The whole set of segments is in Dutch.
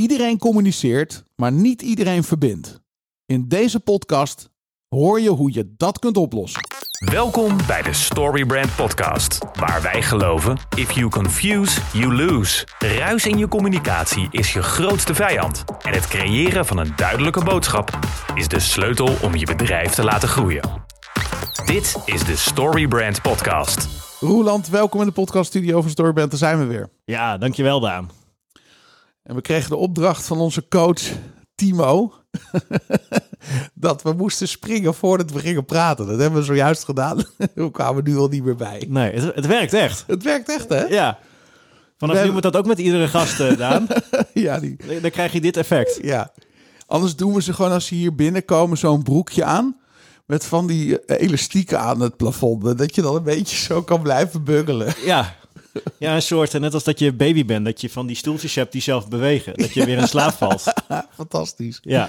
Iedereen communiceert, maar niet iedereen verbindt. In deze podcast hoor je hoe je dat kunt oplossen. Welkom bij de Storybrand Podcast, waar wij geloven: if you confuse, you lose. Ruis in je communicatie is je grootste vijand. En het creëren van een duidelijke boodschap is de sleutel om je bedrijf te laten groeien. Dit is de Storybrand Podcast. Roeland, welkom in de podcaststudio van Storybrand. Daar zijn we weer. Ja, dankjewel Daan. En we kregen de opdracht van onze coach Timo. dat we moesten springen voordat we gingen praten. Dat hebben we zojuist gedaan. we kwamen nu al niet meer bij. Nee, het, het werkt echt. Het werkt echt, hè? Ja. Vanaf We nu hebben- moet dat ook met iedere gast, eh, Daan. Ja, die, Dan dan krijg je dit effect. ja. Anders doen we ze gewoon als ze hier binnenkomen zo'n broekje aan. Met van die eh, elastieken aan het plafond. eh, Dat je dan een beetje zo kan blijven bungelen. Ja. Ja, een soort, eh, net als dat je baby bent, dat je van die stoeltjes hebt die zelf bewegen. Dat je weer in slaap valt. Fantastisch. Ja.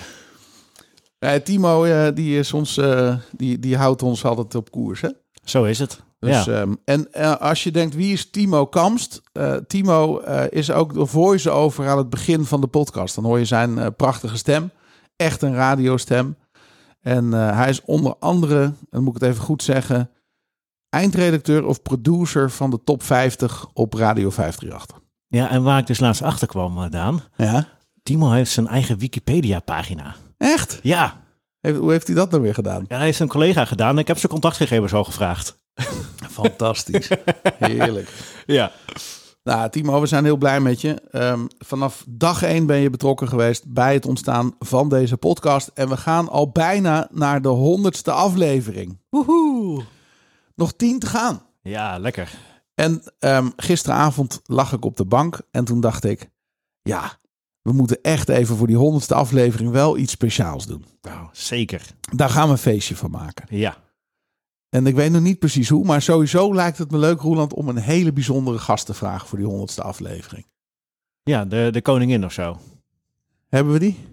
Eh, Timo, eh, die, is ons, eh, die, die houdt ons altijd op koers, hè? Zo is het. Dus, ja. ehm, en eh, als je denkt, wie is Timo Kamst? Eh, Timo eh, is ook de voice-over aan het begin van de podcast. Dan hoor je zijn eh, prachtige stem. Echt een radiostem. En eh, hij is onder andere, en dan moet ik het even goed zeggen... eindredacteur of producer van de top 50 op Radio 538. ja, en waar ik dus laatst achter kwam, eh, Daan. Ja? Timo heeft zijn eigen Wikipedia-pagina. Echt? Ja. Heeft- hoe heeft hij dat nou weer gedaan? ja, hij heeft een collega gedaan. Ik heb zijn contactgegevens al gevraagd. Fantastisch. Heerlijk. Ja. Nou, Timo, we zijn heel blij met je. Ehm, vanaf dag één ben je betrokken geweest bij het ontstaan van deze podcast. En we gaan al bijna naar de honderdste aflevering. Woehoe. Nog tien te gaan. Ja, lekker. En ehm, gisteravond lag ik op de bank en toen dacht ik... Ja, we moeten echt even voor die honderdste aflevering wel iets speciaals doen. Nou, zeker. Daar gaan we een feestje van maken. Ja. En ik weet nog niet precies hoe, maar sowieso lijkt het me leuk, Roeland... om een hele bijzondere gast te vragen voor die honderdste aflevering. Ja, de, de koningin of zo. Hebben we die?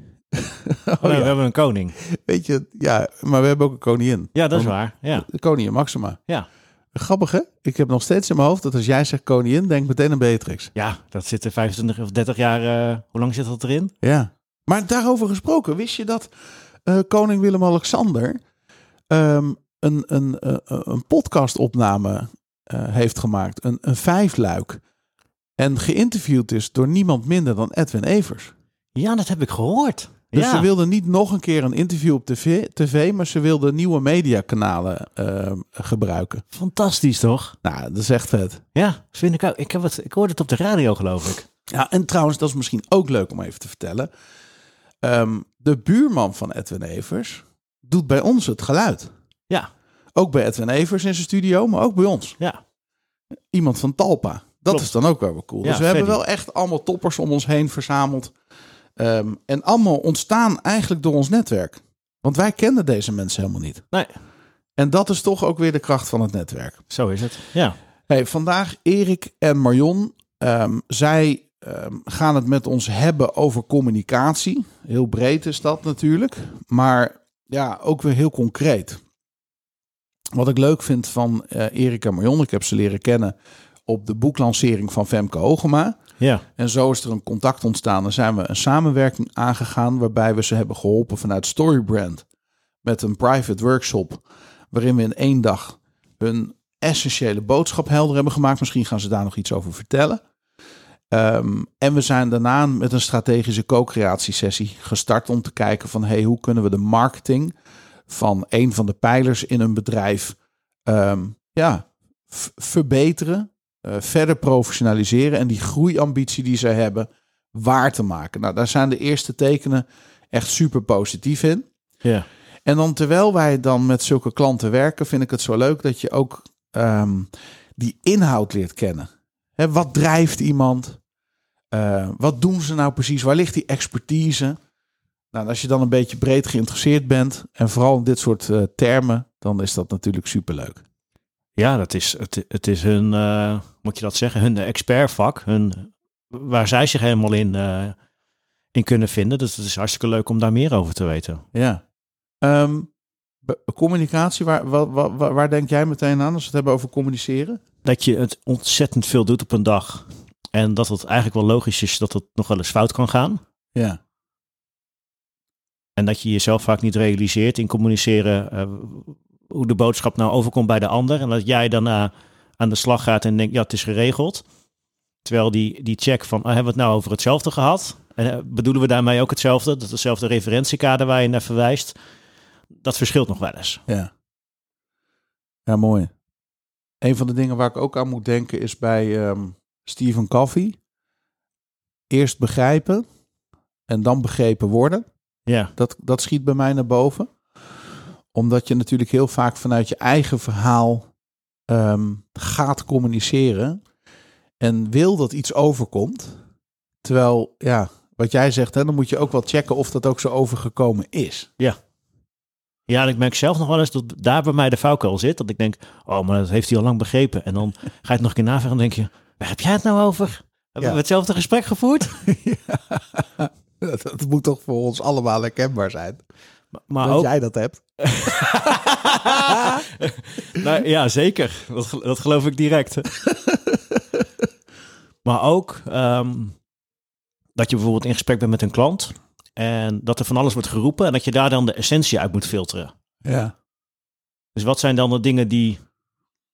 Oh Oh, nee, ja. We hebben een koning. Weet je, ja, maar we hebben ook een koningin. Ja, dat is Oh. waar. Ja. De koningin Maxima. Ja. Grappig hè? Ik heb nog steeds in mijn hoofd dat als jij zegt koningin, denk ik meteen aan Beatrix. ja, dat zit er 25 of 30 jaar. eh, hoe lang zit dat erin? Ja. Maar daarover gesproken, wist je dat eh, koning Willem-Alexander ehm, een, een, eh, een podcastopname eh, heeft gemaakt? Een, een vijfluik. En geïnterviewd is door niemand minder dan Edwin Evers. Ja, dat heb ik gehoord. Dus ja. ze wilden niet nog een keer een interview op tv, tv maar ze wilden nieuwe mediakanalen ehm, gebruiken. Fantastisch toch? Nou, dat is echt vet. Ja, vind ik ook. Ik, heb het, ik hoorde het op de radio, geloof ik. Ja, en trouwens, dat is misschien ook leuk om even te vertellen. Ehm, de buurman van Edwin Evers doet bij ons het geluid. Ja, Ook bij Edwin Evers in zijn studio, maar ook bij ons. ja. Iemand van Talpa. Dat Klopt. is dan ook wel weer cool. Ja, dus we Freddy. hebben wel echt allemaal toppers om ons heen verzameld. Ehm, en allemaal ontstaan eigenlijk door ons netwerk. Want wij kenden deze mensen helemaal niet. Nee, En dat is toch ook weer de kracht van het netwerk. zo is het. Ja. Hey, vandaag Erik en Marion. Ehm, zij ehm, gaan het met ons hebben over communicatie. Heel breed is dat natuurlijk. Maar ja, ook weer heel concreet. Wat ik leuk vind van eh, Erik en Marion, ik heb ze leren kennen op de boeklancering van Femke Hogema. Ja. En zo is er een contact ontstaan en zijn we een samenwerking aangegaan waarbij we ze hebben geholpen vanuit Storybrand met een private workshop waarin we in één dag hun essentiële boodschap helder hebben gemaakt. Misschien gaan ze daar nog iets over vertellen. Ehm, en we zijn daarna met een strategische co-creatiesessie gestart om te kijken van hey, hoe kunnen we de marketing van een van de pijlers in een bedrijf ehm, ja, v- verbeteren, eh, verder professionaliseren en die groeiambitie die ze hebben waar te maken. Nou, daar zijn de eerste tekenen echt super positief in. Ja. En dan terwijl wij dan met zulke klanten werken, vind ik het zo leuk dat je ook ehm, die inhoud leert kennen. Hè, wat drijft iemand? Eh, wat doen ze nou precies? Waar ligt die expertise? Nou, en als je dan een beetje breed geïnteresseerd bent en vooral in dit soort eh, termen, dan is dat natuurlijk superleuk. Ja, dat is, het, het is hun, eh, moet je dat zeggen, hun expertvak. Hun, waar zij zich helemaal in, eh, in kunnen vinden. Dus het is hartstikke leuk om daar meer over te weten. Ja. Ehm, be- communicatie, waar, wa- wa- wa- waar denk jij meteen aan als we het hebben over communiceren? dat je het ontzettend veel doet op een dag. En dat het eigenlijk wel logisch is dat het nog wel eens fout kan gaan. Ja. En dat je jezelf vaak niet realiseert in communiceren eh, hoe de boodschap nou overkomt bij de ander. En dat jij daarna aan de slag gaat en denkt, ja, het is geregeld. Terwijl die, die check van, ah, hebben we het nou over hetzelfde gehad? En eh, bedoelen we daarmee ook hetzelfde? Dat hetzelfde referentiekader waar je naar verwijst. Dat verschilt nog wel eens. Ja. Ja, mooi. Een van de dingen waar ik ook aan moet denken is bij ehm Stephen Coffee. Eerst begrijpen en dan begrepen worden. Ja, Dat, dat schiet bij mij naar boven. Omdat je natuurlijk heel vaak vanuit je eigen verhaal ehm, gaat communiceren. En wil dat iets overkomt. Terwijl, ja, wat jij zegt, hè, dan moet je ook wel checken of dat ook zo overgekomen is. ja en ik merk zelf nog wel eens dat daar bij mij de valkuil zit. Dat ik denk, oh, maar dat heeft hij al lang begrepen. En dan ga je het nog een keer navragen en denk je, waar heb jij het nou over? Hebben Ja. we hetzelfde gesprek gevoerd? Dat moet toch voor ons allemaal herkenbaar zijn. Maar ook, dat hebt. Nou, ja, zeker. Dat, gel- dat geloof ik direct. maar ook ehm, dat je bijvoorbeeld in gesprek bent met een klant en dat er van alles wordt geroepen en dat je daar dan de essentie uit moet filteren. Ja, Dus wat zijn dan de dingen die,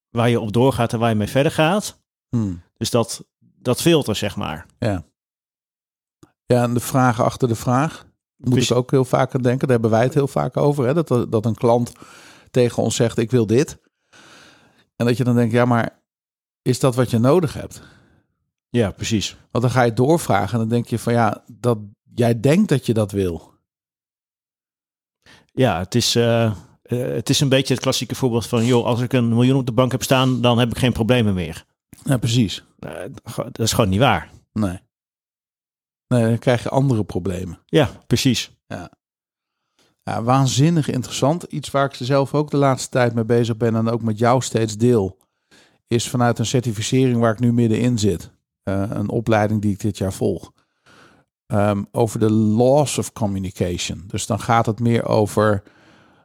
waar je op doorgaat en waar je mee verder gaat? Hmm. Dus dat, dat filter, zeg maar. ja en de vragen achter de vraag. Moet Precies. ik ook heel vaak aan denken. Daar hebben wij het heel vaak over. Hè? Dat, dat een klant tegen ons zegt, ik wil dit. En dat je dan denkt, ja, maar is dat wat je nodig hebt? Ja, precies. Want dan ga je doorvragen en dan denk je van, ja, dat, jij denkt dat je dat wil. Ja, het is, eh, eh, het is een beetje het klassieke voorbeeld van, joh, als ik een miljoen op de bank heb staan, dan heb ik geen problemen meer. Ja, precies. Eh, dat is gewoon niet waar. Nee. Nee, dan krijg je andere problemen. Ja, precies. Ja, waanzinnig interessant. Iets waar ik zelf ook de laatste tijd mee bezig ben en ook met jou steeds deel, is vanuit een certificering waar ik nu middenin zit. Eh, een opleiding die ik dit jaar volg. Ehm, over de laws of communication. Dus dan gaat het meer over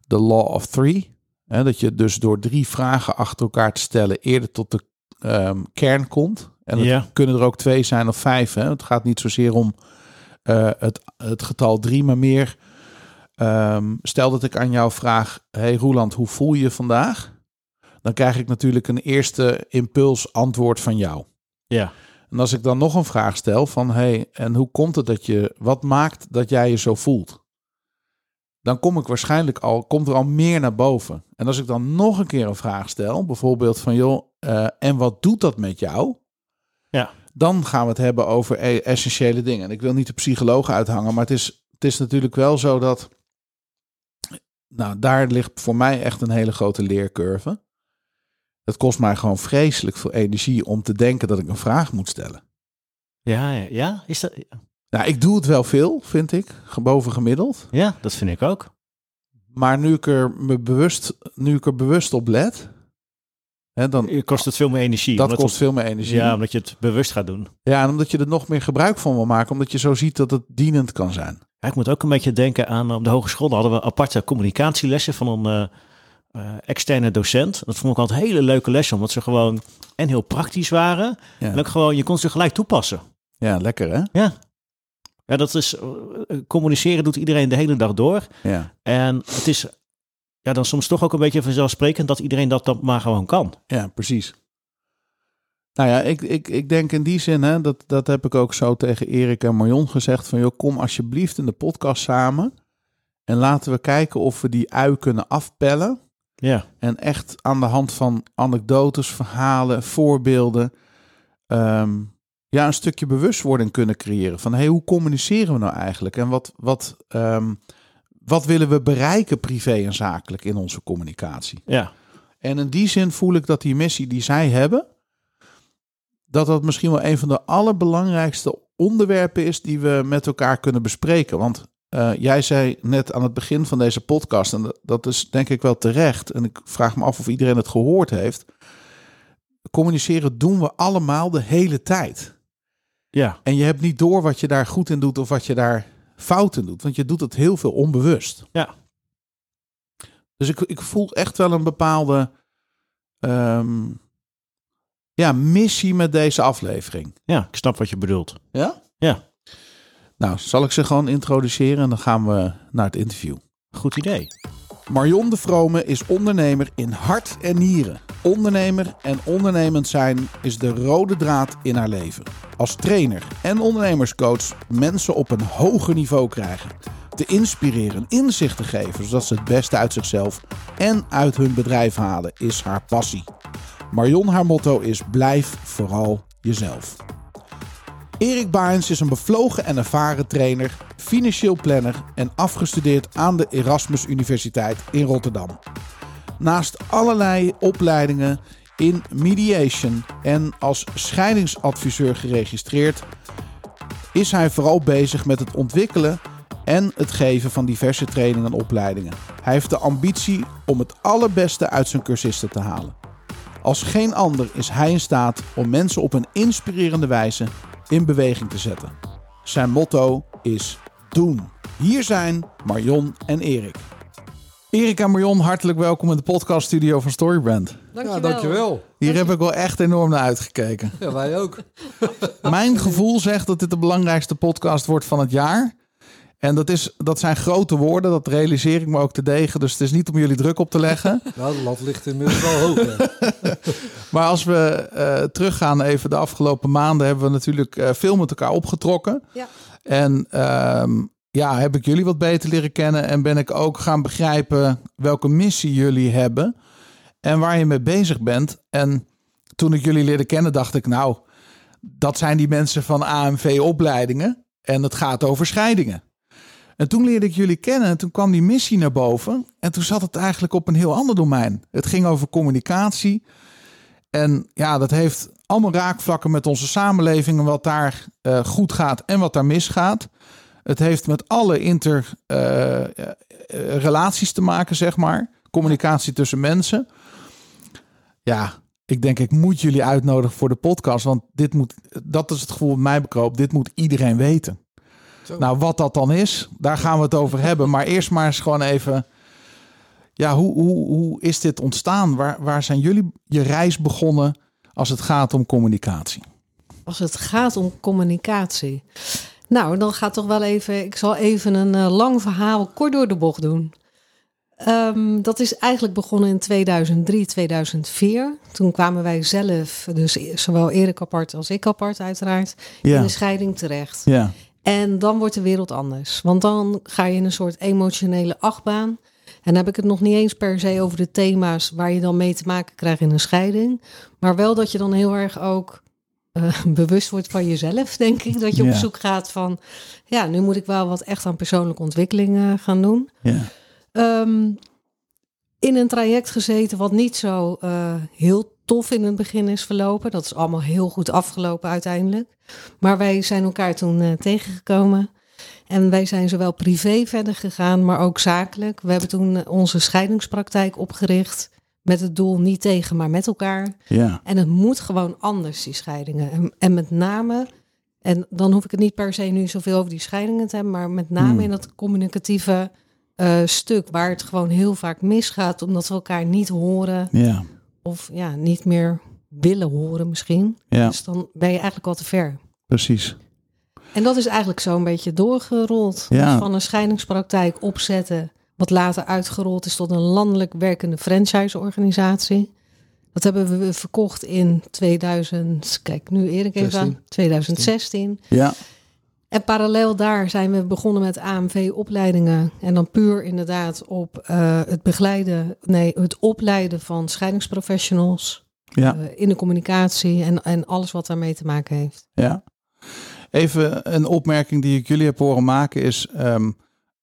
de law of three. Hè, dat je dus door drie vragen achter elkaar te stellen eerder tot de ehm, kern komt. En het Ja. kunnen er ook twee zijn of vijf. Hè. Het gaat niet zozeer om eh, het, het getal drie, maar meer Ehm, stel dat ik aan jou vraag: Hey Roeland, hoe voel je je vandaag? Dan krijg ik natuurlijk een eerste impuls antwoord van jou. Ja. En als ik dan nog een vraag stel: van hey, en hoe komt het dat je, wat maakt dat jij je zo voelt? Dan kom ik waarschijnlijk al, komt er al meer naar boven. En als ik dan nog een keer een vraag stel, bijvoorbeeld van joh, eh, en wat doet dat met jou? Ja. Dan gaan we het hebben over eh, essentiële dingen. En ik wil niet de psycholoog uithangen, maar het is, het is natuurlijk wel zo dat nou, daar ligt voor mij echt een hele grote leercurve. Het kost mij gewoon vreselijk veel energie om te denken dat ik een vraag moet stellen. Ja, ja, ja, is dat, Nou, ik doe het wel veel, vind ik, ge- boven gemiddeld. ja, dat vind ik ook. Maar nu ik er, me bewust, nu ik er bewust op let, hè, dan, Kost het veel meer energie. dat omdat kost het- veel meer energie. Ja, Ja. omdat je het bewust gaat doen. en omdat je er nog meer gebruik van wil maken, omdat je zo ziet dat het dienend kan zijn. Ja, ik moet ook een beetje denken aan, eh, op de hogeschool hadden we aparte communicatielessen van een eh, eh, externe docent. Dat vond ik altijd hele leuke lessen, omdat ze gewoon en heel praktisch waren. Ja. En ook gewoon, je kon ze gelijk toepassen. Ja, lekker hè? Ja. Ja, dat is, eh, communiceren doet iedereen de hele dag door. Ja, En het is ja, dan soms toch ook een beetje vanzelfsprekend dat iedereen dat dan maar gewoon kan. ja precies. Nou ja, ik, ik, ik denk in die zin, hè, dat, dat heb ik ook zo tegen Erik en Marion gezegd, van joh, kom alsjeblieft in de podcast samen en laten we kijken of we die ui kunnen afpellen. Ja, En echt aan de hand van anekdotes, verhalen, voorbeelden. ehm, ja, een stukje bewustwording kunnen creëren. Van hey, hoe communiceren we nou eigenlijk? En wat, wat, ehm, wat willen we bereiken privé en zakelijk in onze communicatie? ja. En in die zin voel ik dat die missie die zij hebben. Dat dat misschien wel een van de allerbelangrijkste onderwerpen is die we met elkaar kunnen bespreken. Want eh, jij zei net aan het begin van deze podcast, en dat- dat is denk ik wel terecht. En ik vraag me af of iedereen het gehoord heeft. Communiceren doen we allemaal de hele tijd. ja. En je hebt niet door wat je daar goed in doet of wat je daar fout in doet. Want je doet het heel veel onbewust. Ja. Dus ik, ik voel echt wel een bepaalde ehm, ja, missie met deze aflevering. ja, ik snap wat je bedoelt. Ja? Ja. Nou, zal ik ze gewoon introduceren en dan gaan we naar het interview. Goed idee. Marion de Vrome is ondernemer in hart en nieren. Ondernemer en ondernemend zijn is de rode draad in haar leven. Als trainer en ondernemerscoach mensen op een hoger niveau krijgen. Te inspireren, inzicht te geven, zodat ze het beste uit zichzelf en uit hun bedrijf halen, is haar passie. Marion, haar motto is blijf vooral jezelf. Erik Baarns is een bevlogen en ervaren trainer, financieel planner en afgestudeerd aan de Erasmus Universiteit in Rotterdam. Naast allerlei opleidingen in mediation en als scheidingsadviseur geregistreerd, is hij vooral bezig met het ontwikkelen en het geven van diverse trainingen en opleidingen. Hij heeft de ambitie om het allerbeste uit zijn cursisten te halen. Als geen ander is hij in staat om mensen op een inspirerende wijze in beweging te zetten. Zijn motto is doen. Hier zijn Marion en Erik. Erik en Marion, hartelijk welkom in de podcaststudio van Storybrand. Ja, Dankjewel. dankjewel. Hier heb ik wel echt enorm naar uitgekeken. Ja, wij ook. Mijn gevoel zegt dat dit de belangrijkste podcast wordt van het jaar. En dat, is, dat zijn grote woorden, dat realiseer ik me ook te degen. Dus het is niet om jullie druk op te leggen. Nou, de lat ligt inmiddels wel hoog. hè. Maar als we eh, teruggaan even de afgelopen maanden, hebben we natuurlijk eh, veel met elkaar opgetrokken. Ja. En ehm, ja, heb ik jullie wat beter leren kennen en ben ik ook gaan begrijpen welke missie jullie hebben en waar je mee bezig bent. En toen ik jullie leerde kennen, dacht ik, nou, dat zijn die mensen van AMV-opleidingen en het gaat over scheidingen. En toen leerde ik jullie kennen en toen kwam die missie naar boven. En toen zat het eigenlijk op een heel ander domein. Het ging over communicatie. En ja, dat heeft allemaal raakvlakken met onze samenleving en wat daar eh, goed gaat en wat daar misgaat. Het heeft met alle interrelaties te maken, zeg maar. Communicatie tussen mensen. Ja, ik denk, ik moet jullie uitnodigen voor de podcast. Want dit moet, dat is het gevoel dat mij bekroopt. Dit moet iedereen weten. Zo. Nou, wat dat dan is, daar gaan we het over hebben. Maar eerst maar eens gewoon even. Ja, hoe, hoe, hoe is dit ontstaan? Waar, waar zijn jullie je reis begonnen als het gaat om communicatie? Als het gaat om communicatie. Nou, dan gaat toch wel even. Ik zal even een eh, lang verhaal kort door de bocht doen. Ehm, dat is eigenlijk begonnen in 2003, 2004. Toen kwamen wij zelf, dus e- zowel Erik apart als ik apart, uiteraard, in een scheiding terecht. ja. En dan wordt de wereld anders. Want dan ga je in een soort emotionele achtbaan. En dan heb ik het nog niet eens per se over de thema's waar je dan mee te maken krijgt in een scheiding. Maar wel dat je dan heel erg ook eh, bewust wordt van jezelf, denk ik. Dat je Ja. op zoek gaat van, ja, nu moet ik wel wat echt aan persoonlijke ontwikkeling eh, gaan doen. ja. Ehm, in een traject gezeten wat niet zo eh, heel tof in het begin is verlopen. Dat is allemaal heel goed afgelopen uiteindelijk. Maar wij zijn elkaar toen eh, tegengekomen. En wij zijn zowel privé verder gegaan, maar ook zakelijk. We hebben toen eh, onze scheidingspraktijk opgericht. Met het doel niet tegen, maar met elkaar. Ja, En het moet gewoon anders, die scheidingen. En, en met name, en dan hoef ik het niet per se nu zoveel over die scheidingen te hebben, maar met name Hmm. in dat communicatieve eh, stuk, waar het gewoon heel vaak misgaat, omdat we elkaar niet horen ja, of ja, niet meer willen horen misschien. ja, Dus dan ben je eigenlijk al te ver. precies. En dat is eigenlijk zo'n beetje doorgerold. Ja. Dus van een scheidingspraktijk opzetten, wat later uitgerold is tot een landelijk werkende franchiseorganisatie. Dat hebben we verkocht in 2000, kijk nu Erik even aan, 2016. Ja, En parallel daar zijn we begonnen met AMV-opleidingen. En dan puur inderdaad op eh, het begeleiden, nee, het opleiden van scheidingsprofessionals ja, eh, in de communicatie en, en alles wat daarmee te maken heeft. ja. Even een opmerking die ik jullie heb horen maken is... ehm,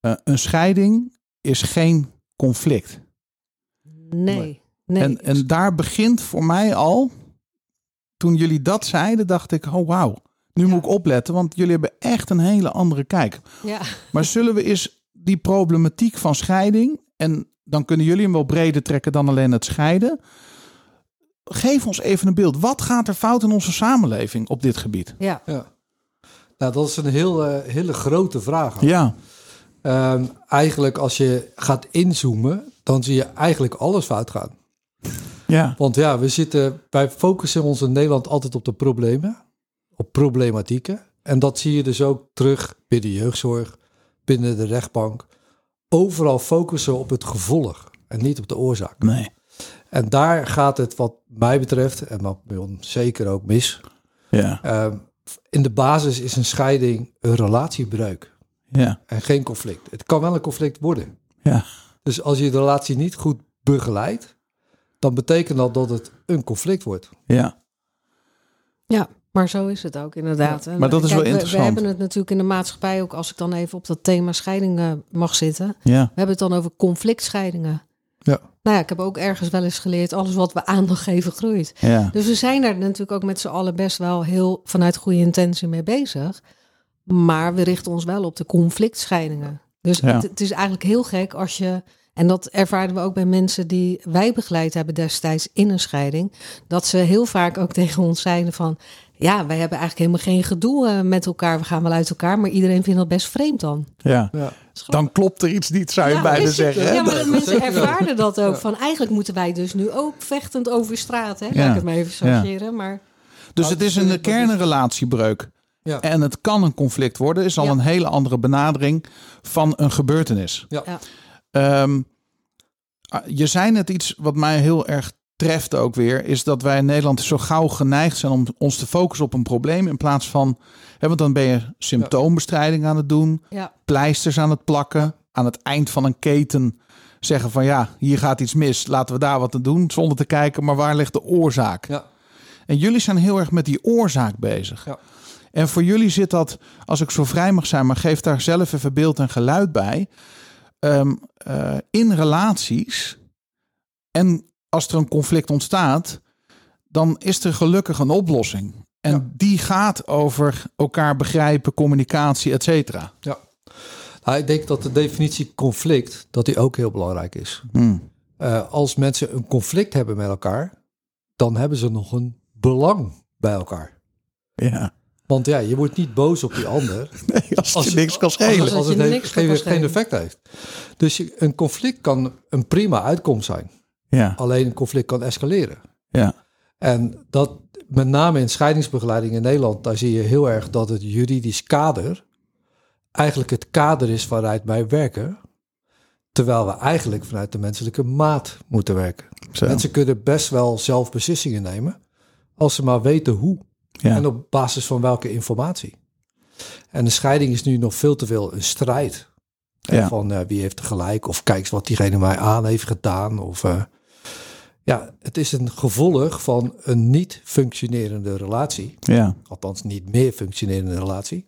eh, een scheiding is geen conflict. Nee. nee. en, en daar begint voor mij al... Toen jullie dat zeiden, dacht ik, oh wauw. Nu moet ik opletten, want jullie hebben echt een hele andere kijk. ja. Maar zullen we eens die problematiek van scheiding... en dan kunnen jullie hem wel breder trekken dan alleen het scheiden... Geef ons even een beeld. Wat gaat er fout in onze samenleving op dit gebied? Ja, Ja. Nou, dat is een heel, eh, hele grote vraag. Ja, Ehm, eigenlijk als je gaat inzoomen, dan zie je eigenlijk alles fout gaan. ja, Want ja, we zitten, wij focussen ons in Nederland altijd op de problemen, op problematieken. En dat zie je dus ook terug binnen de jeugdzorg, binnen de rechtbank. Overal focussen op het gevolg en niet op de oorzaak. Nee. En daar gaat het wat mij betreft, en wat bij ons zeker ook mis. Ja. eh, in de basis is een scheiding een relatiebreuk Ja. en geen conflict. Het kan wel een conflict worden. Ja. Dus als je de relatie niet goed begeleidt, dan betekent dat dat het een conflict wordt. Ja. Ja, maar zo is het ook inderdaad. En maar dat is wel we- interessant. We, hebben het natuurlijk in de maatschappij ook, als ik dan even op dat thema scheidingen mag zitten. Ja. We hebben het dan over conflictscheidingen. Ja. Nou ja, ik heb ook ergens wel eens geleerd, alles wat we aandacht geven groeit. Ja. Dus we zijn daar natuurlijk ook met z'n allen best wel heel vanuit goede intentie mee bezig. Maar we richten ons wel op de conflictscheidingen. Dus Ja. het, het is eigenlijk heel gek als je. En dat ervaren we ook bij mensen die wij begeleid hebben destijds in een scheiding. Dat ze heel vaak ook tegen ons zeiden van. Ja, wij hebben eigenlijk helemaal geen gedoe eh, met elkaar. We gaan wel uit elkaar, maar iedereen vindt dat best vreemd dan. Ja. Ja. Dan klopt er iets niet, zou je bijna is het- zeggen. hè? Ja, maar Dat- mensen zeker wel. ervaren dat ook. Ja. Van eigenlijk moeten wij dus nu ook vechtend over straat. Hè? Ja. Laat ik het maar even Ja. sorgeren. Maar Dus het is een kernrelatiebreuk. Ja. En het kan een conflict worden, is al Ja. een hele andere benadering van een gebeurtenis. Ja. Ja. Ehm, ah, je zei net iets wat mij heel erg treft ook weer, is dat wij in Nederland zo gauw geneigd zijn om ons te focussen op een probleem in plaats van, hè, want dan ben je symptoombestrijding aan het doen, ja, pleisters aan het plakken, aan het eind van een keten zeggen van ja, hier gaat iets mis, laten we daar wat aan doen, zonder te kijken, maar waar ligt de oorzaak? Ja. En jullie zijn heel erg met die oorzaak bezig. Ja. En voor jullie zit dat, als ik zo vrij mag zijn, maar geef daar zelf even beeld en geluid bij. Ehm, eh, in relaties en als er een conflict ontstaat, dan is er gelukkig een oplossing. En Ja. die gaat over elkaar begrijpen, communicatie, et cetera. Nou, ik denk dat de definitie conflict, dat die ook heel belangrijk is. Hmm. Eh, als mensen een conflict hebben met elkaar, dan hebben ze nog een belang bij elkaar. Ja. Want ja, je wordt niet boos op die ander Nee, als, Als- je niks kan Als schelen. het als je het heeft- niks kan geen, schelen. geen effect heeft. Dus je- een conflict kan een prima uitkomst zijn. Ja, Alleen een conflict kan escaleren. ja, En dat met name in scheidingsbegeleiding in Nederland, daar zie je heel erg dat het juridisch kader eigenlijk het kader is waaruit wij werken. Terwijl we eigenlijk vanuit de menselijke maat moeten werken. zo. Mensen kunnen best wel zelf beslissingen nemen als ze maar weten hoe Ja. en op basis van welke informatie. En de scheiding is nu nog veel te veel een strijd. Hè, Ja. Van eh, wie heeft er gelijk of kijk eens wat diegene mij aan heeft gedaan. Of, eh, ja, het is een gevolg van een niet functionerende relatie. ja, Althans niet meer functionerende relatie.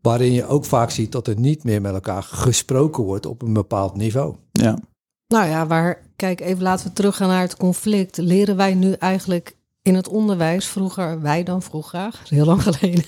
Waarin je ook vaak ziet dat er niet meer met elkaar gesproken wordt op een bepaald niveau. ja, Nou ja, waar, kijk, even laten we teruggaan naar het conflict. Leren wij nu eigenlijk in het onderwijs, vroeger, wij dan vroeger, heel lang geleden,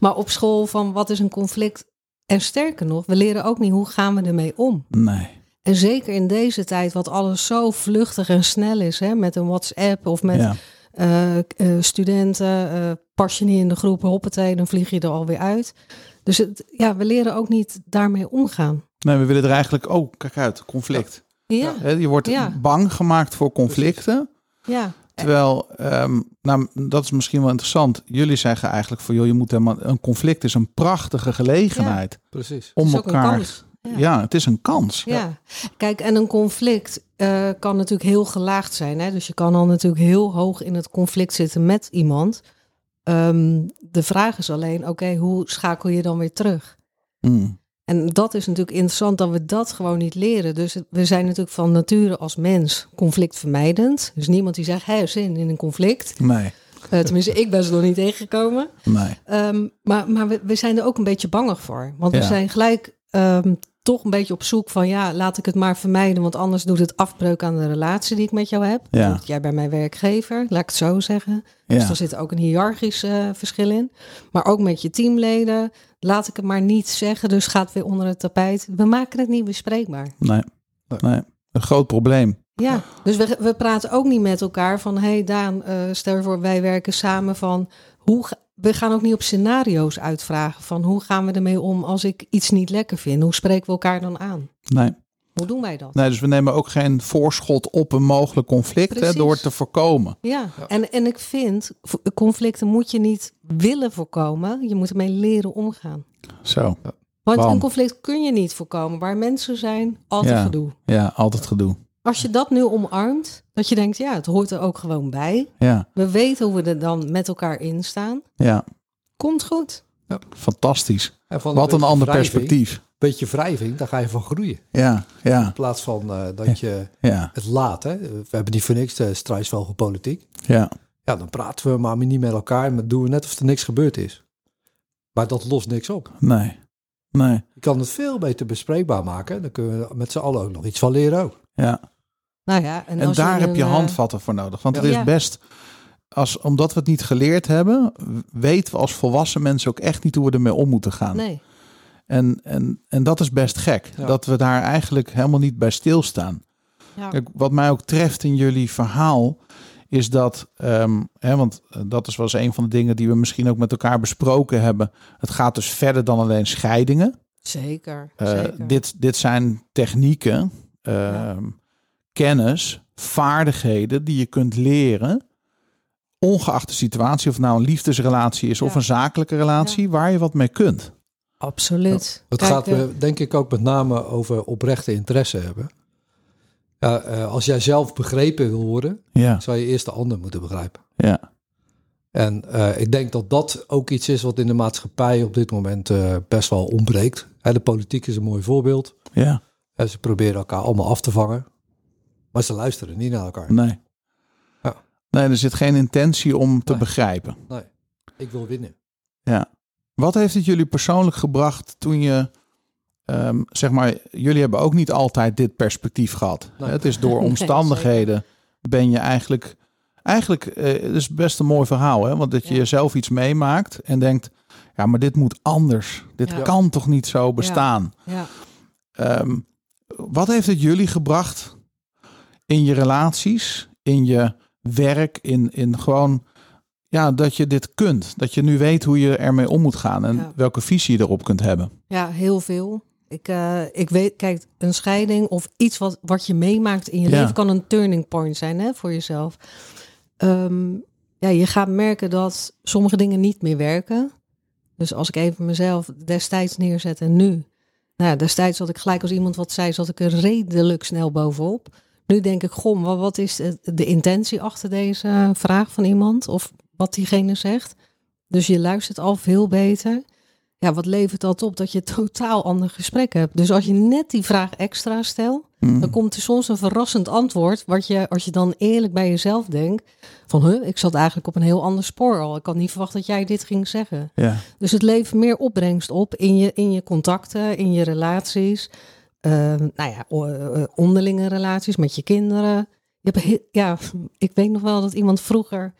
maar op school van wat is een conflict? En sterker nog, we leren ook niet hoe gaan we ermee om. nee. En zeker in deze tijd, wat alles zo vluchtig en snel is, hè, met een WhatsApp of met Ja, eh, k- eh, studenten, eh, pas je niet in de groep, hoppatee, dan vlieg je er alweer uit. Dus het, ja, we leren ook niet daarmee omgaan. nee, we willen er eigenlijk, oh, kijk uit, conflict. Ja, Hè, Je wordt Ja. bang gemaakt voor conflicten. ja. Terwijl, ehm, nou, dat is misschien wel interessant. Jullie zeggen eigenlijk voor joh, je moet helemaal. Een conflict is een prachtige gelegenheid Precies. om is ook een elkaar. kans. ja. het is een kans. Ja. kijk, en een conflict eh, kan natuurlijk heel gelaagd zijn. Hè? Dus je kan al natuurlijk heel hoog in het conflict zitten met iemand. Ehm, de vraag is alleen, oké, hoe schakel je dan weer terug? Mm, En dat is natuurlijk interessant dat we dat gewoon niet leren. Dus het- we zijn natuurlijk van nature als mens conflictvermijdend. Dus niemand die zegt, hé, zin in een conflict. Nee, Eh, tenminste, ik ben ze nog niet tegengekomen. nee. Ehm, maar maar we, we zijn er ook een beetje bangig voor. Want Ja. we zijn gelijk ehm, toch een beetje op zoek van... ja, laat ik het maar vermijden... want anders doet het afbreuk aan de relatie die ik met jou heb. Ja. Want jij bent mijn werkgever, laat ik het zo zeggen. Dus Ja, daar zit ook een hiërarchisch eh, verschil in. Maar ook met je teamleden. Laat ik het maar niet zeggen, dus gaat weer onder het tapijt. We maken het niet bespreekbaar. nee, nee. Een groot probleem. Ja, dus we, we praten ook niet met elkaar van... hé hey Daan, eh, stel je voor, wij werken samen van... Hoe ga- we gaan ook niet op scenario's uitvragen van... hoe gaan we ermee om als ik iets niet lekker vind? Hoe spreken we elkaar dan aan? Nee. Hoe doen wij dat? Nee, dus we nemen ook geen voorschot op een mogelijk conflict hè, Precies. door het te voorkomen. Ja, en, en ik vind, v- conflicten moet je niet willen voorkomen. Je moet ermee leren omgaan. Zo, Want Bam. een conflict kun je niet voorkomen. Waar mensen zijn, altijd Ja. gedoe. ja, altijd gedoe. Als je dat nu omarmt, dat je denkt, ja, het hoort er ook gewoon bij. Ja, We weten hoe we er dan met elkaar in staan. ja, Komt goed. fantastisch. En van Wat een beetje ander wrijving- perspectief. beetje wrijving, daar ga je van groeien. Ja, ja, In plaats van eh, dat je ja, het laat. Hè? We hebben niet voor niks de strijdvogelpolitiek. ja. Ja, dan praten we maar niet met elkaar. Maar doen we net of er niks gebeurd is. Maar dat lost niks op. Nee, nee, Je kan het veel beter bespreekbaar maken. Dan kunnen we er met z'n allen ook nog iets van leren ook. ja. Nou ja, en, En, als daar in heb je een, eh, handvatten voor nodig. Want het is Ja. best, als, omdat we het niet geleerd hebben, w- weten we als volwassen mensen ook echt niet hoe we ermee om moeten gaan. Nee. En, en, en dat is best gek, Ja. dat we daar eigenlijk helemaal niet bij stilstaan. Ja. Kijk, wat mij ook treft in jullie verhaal, is dat, ehm, hè, want eh, dat is wel eens een van de dingen die we misschien ook met elkaar besproken hebben. Het gaat dus verder dan alleen scheidingen. Zeker. Eh, zeker. dit, dit zijn technieken, eh, Ja. kennis, vaardigheden die je kunt leren. Ongeacht de situatie, of het nou een liefdesrelatie is of Ja. een zakelijke relatie, waar je wat mee kunt. Absoluut. Het Kijk, gaat eh, me, denk ik ook met name over oprechte interesse hebben. Ja, eh, als jij zelf begrepen wil worden, Ja, zou je eerst de ander moeten begrijpen. ja, En eh, ik denk dat dat ook iets is wat in de maatschappij op dit moment eh, best wel ontbreekt. Hè, de politiek is een mooi voorbeeld. ja. En ze proberen elkaar allemaal af te vangen. Maar ze luisteren niet naar elkaar. Nee. Ja. Nee, er zit geen intentie om te Nee. begrijpen. Nee, ik wil winnen. Wat heeft het jullie persoonlijk gebracht toen je, ehm, zeg maar, jullie hebben ook niet altijd dit perspectief gehad. Nee. Het is door Nee, omstandigheden ben je eigenlijk, eigenlijk eh, het is best een mooi verhaal, hè? want dat je Ja. zelf iets meemaakt en denkt, ja, maar dit moet anders. Dit Ja. kan toch niet zo bestaan. ja. Ehm, wat heeft het jullie gebracht in je relaties, in je werk, in, in gewoon ja, dat je dit kunt? Dat je nu weet hoe je ermee om moet gaan en Ja. welke visie je erop kunt hebben. Ja, heel veel. Ik, eh, ik weet, kijk, een scheiding of iets wat, wat je meemaakt in je Ja. leven kan een turning point zijn hè, voor jezelf. Ehm, ja, je gaat merken dat sommige dingen niet meer werken. Dus als ik even mezelf destijds neerzet en nu. Nou, ja, destijds had ik gelijk als iemand wat zei, zat ik er redelijk snel bovenop. Nu denk ik, goh, wa- wat is de- de intentie achter deze vraag van iemand? Of wat diegene zegt? Dus je luistert al veel beter ja, wat levert dat op? Dat je een totaal ander gesprek hebt. Dus als je net die vraag extra stelt, dan komt er soms een verrassend antwoord. Wat je, als je dan eerlijk bij jezelf denkt, van huh, ik zat eigenlijk op een heel ander spoor al. Ik had niet verwacht dat jij dit ging zeggen. Ja, Dus het levert meer opbrengst op in je, in je contacten, in je relaties. Eh, nou ja, o- eh, onderlinge relaties met je kinderen. Je hebt heel- ja, ik weet nog wel dat iemand vroeger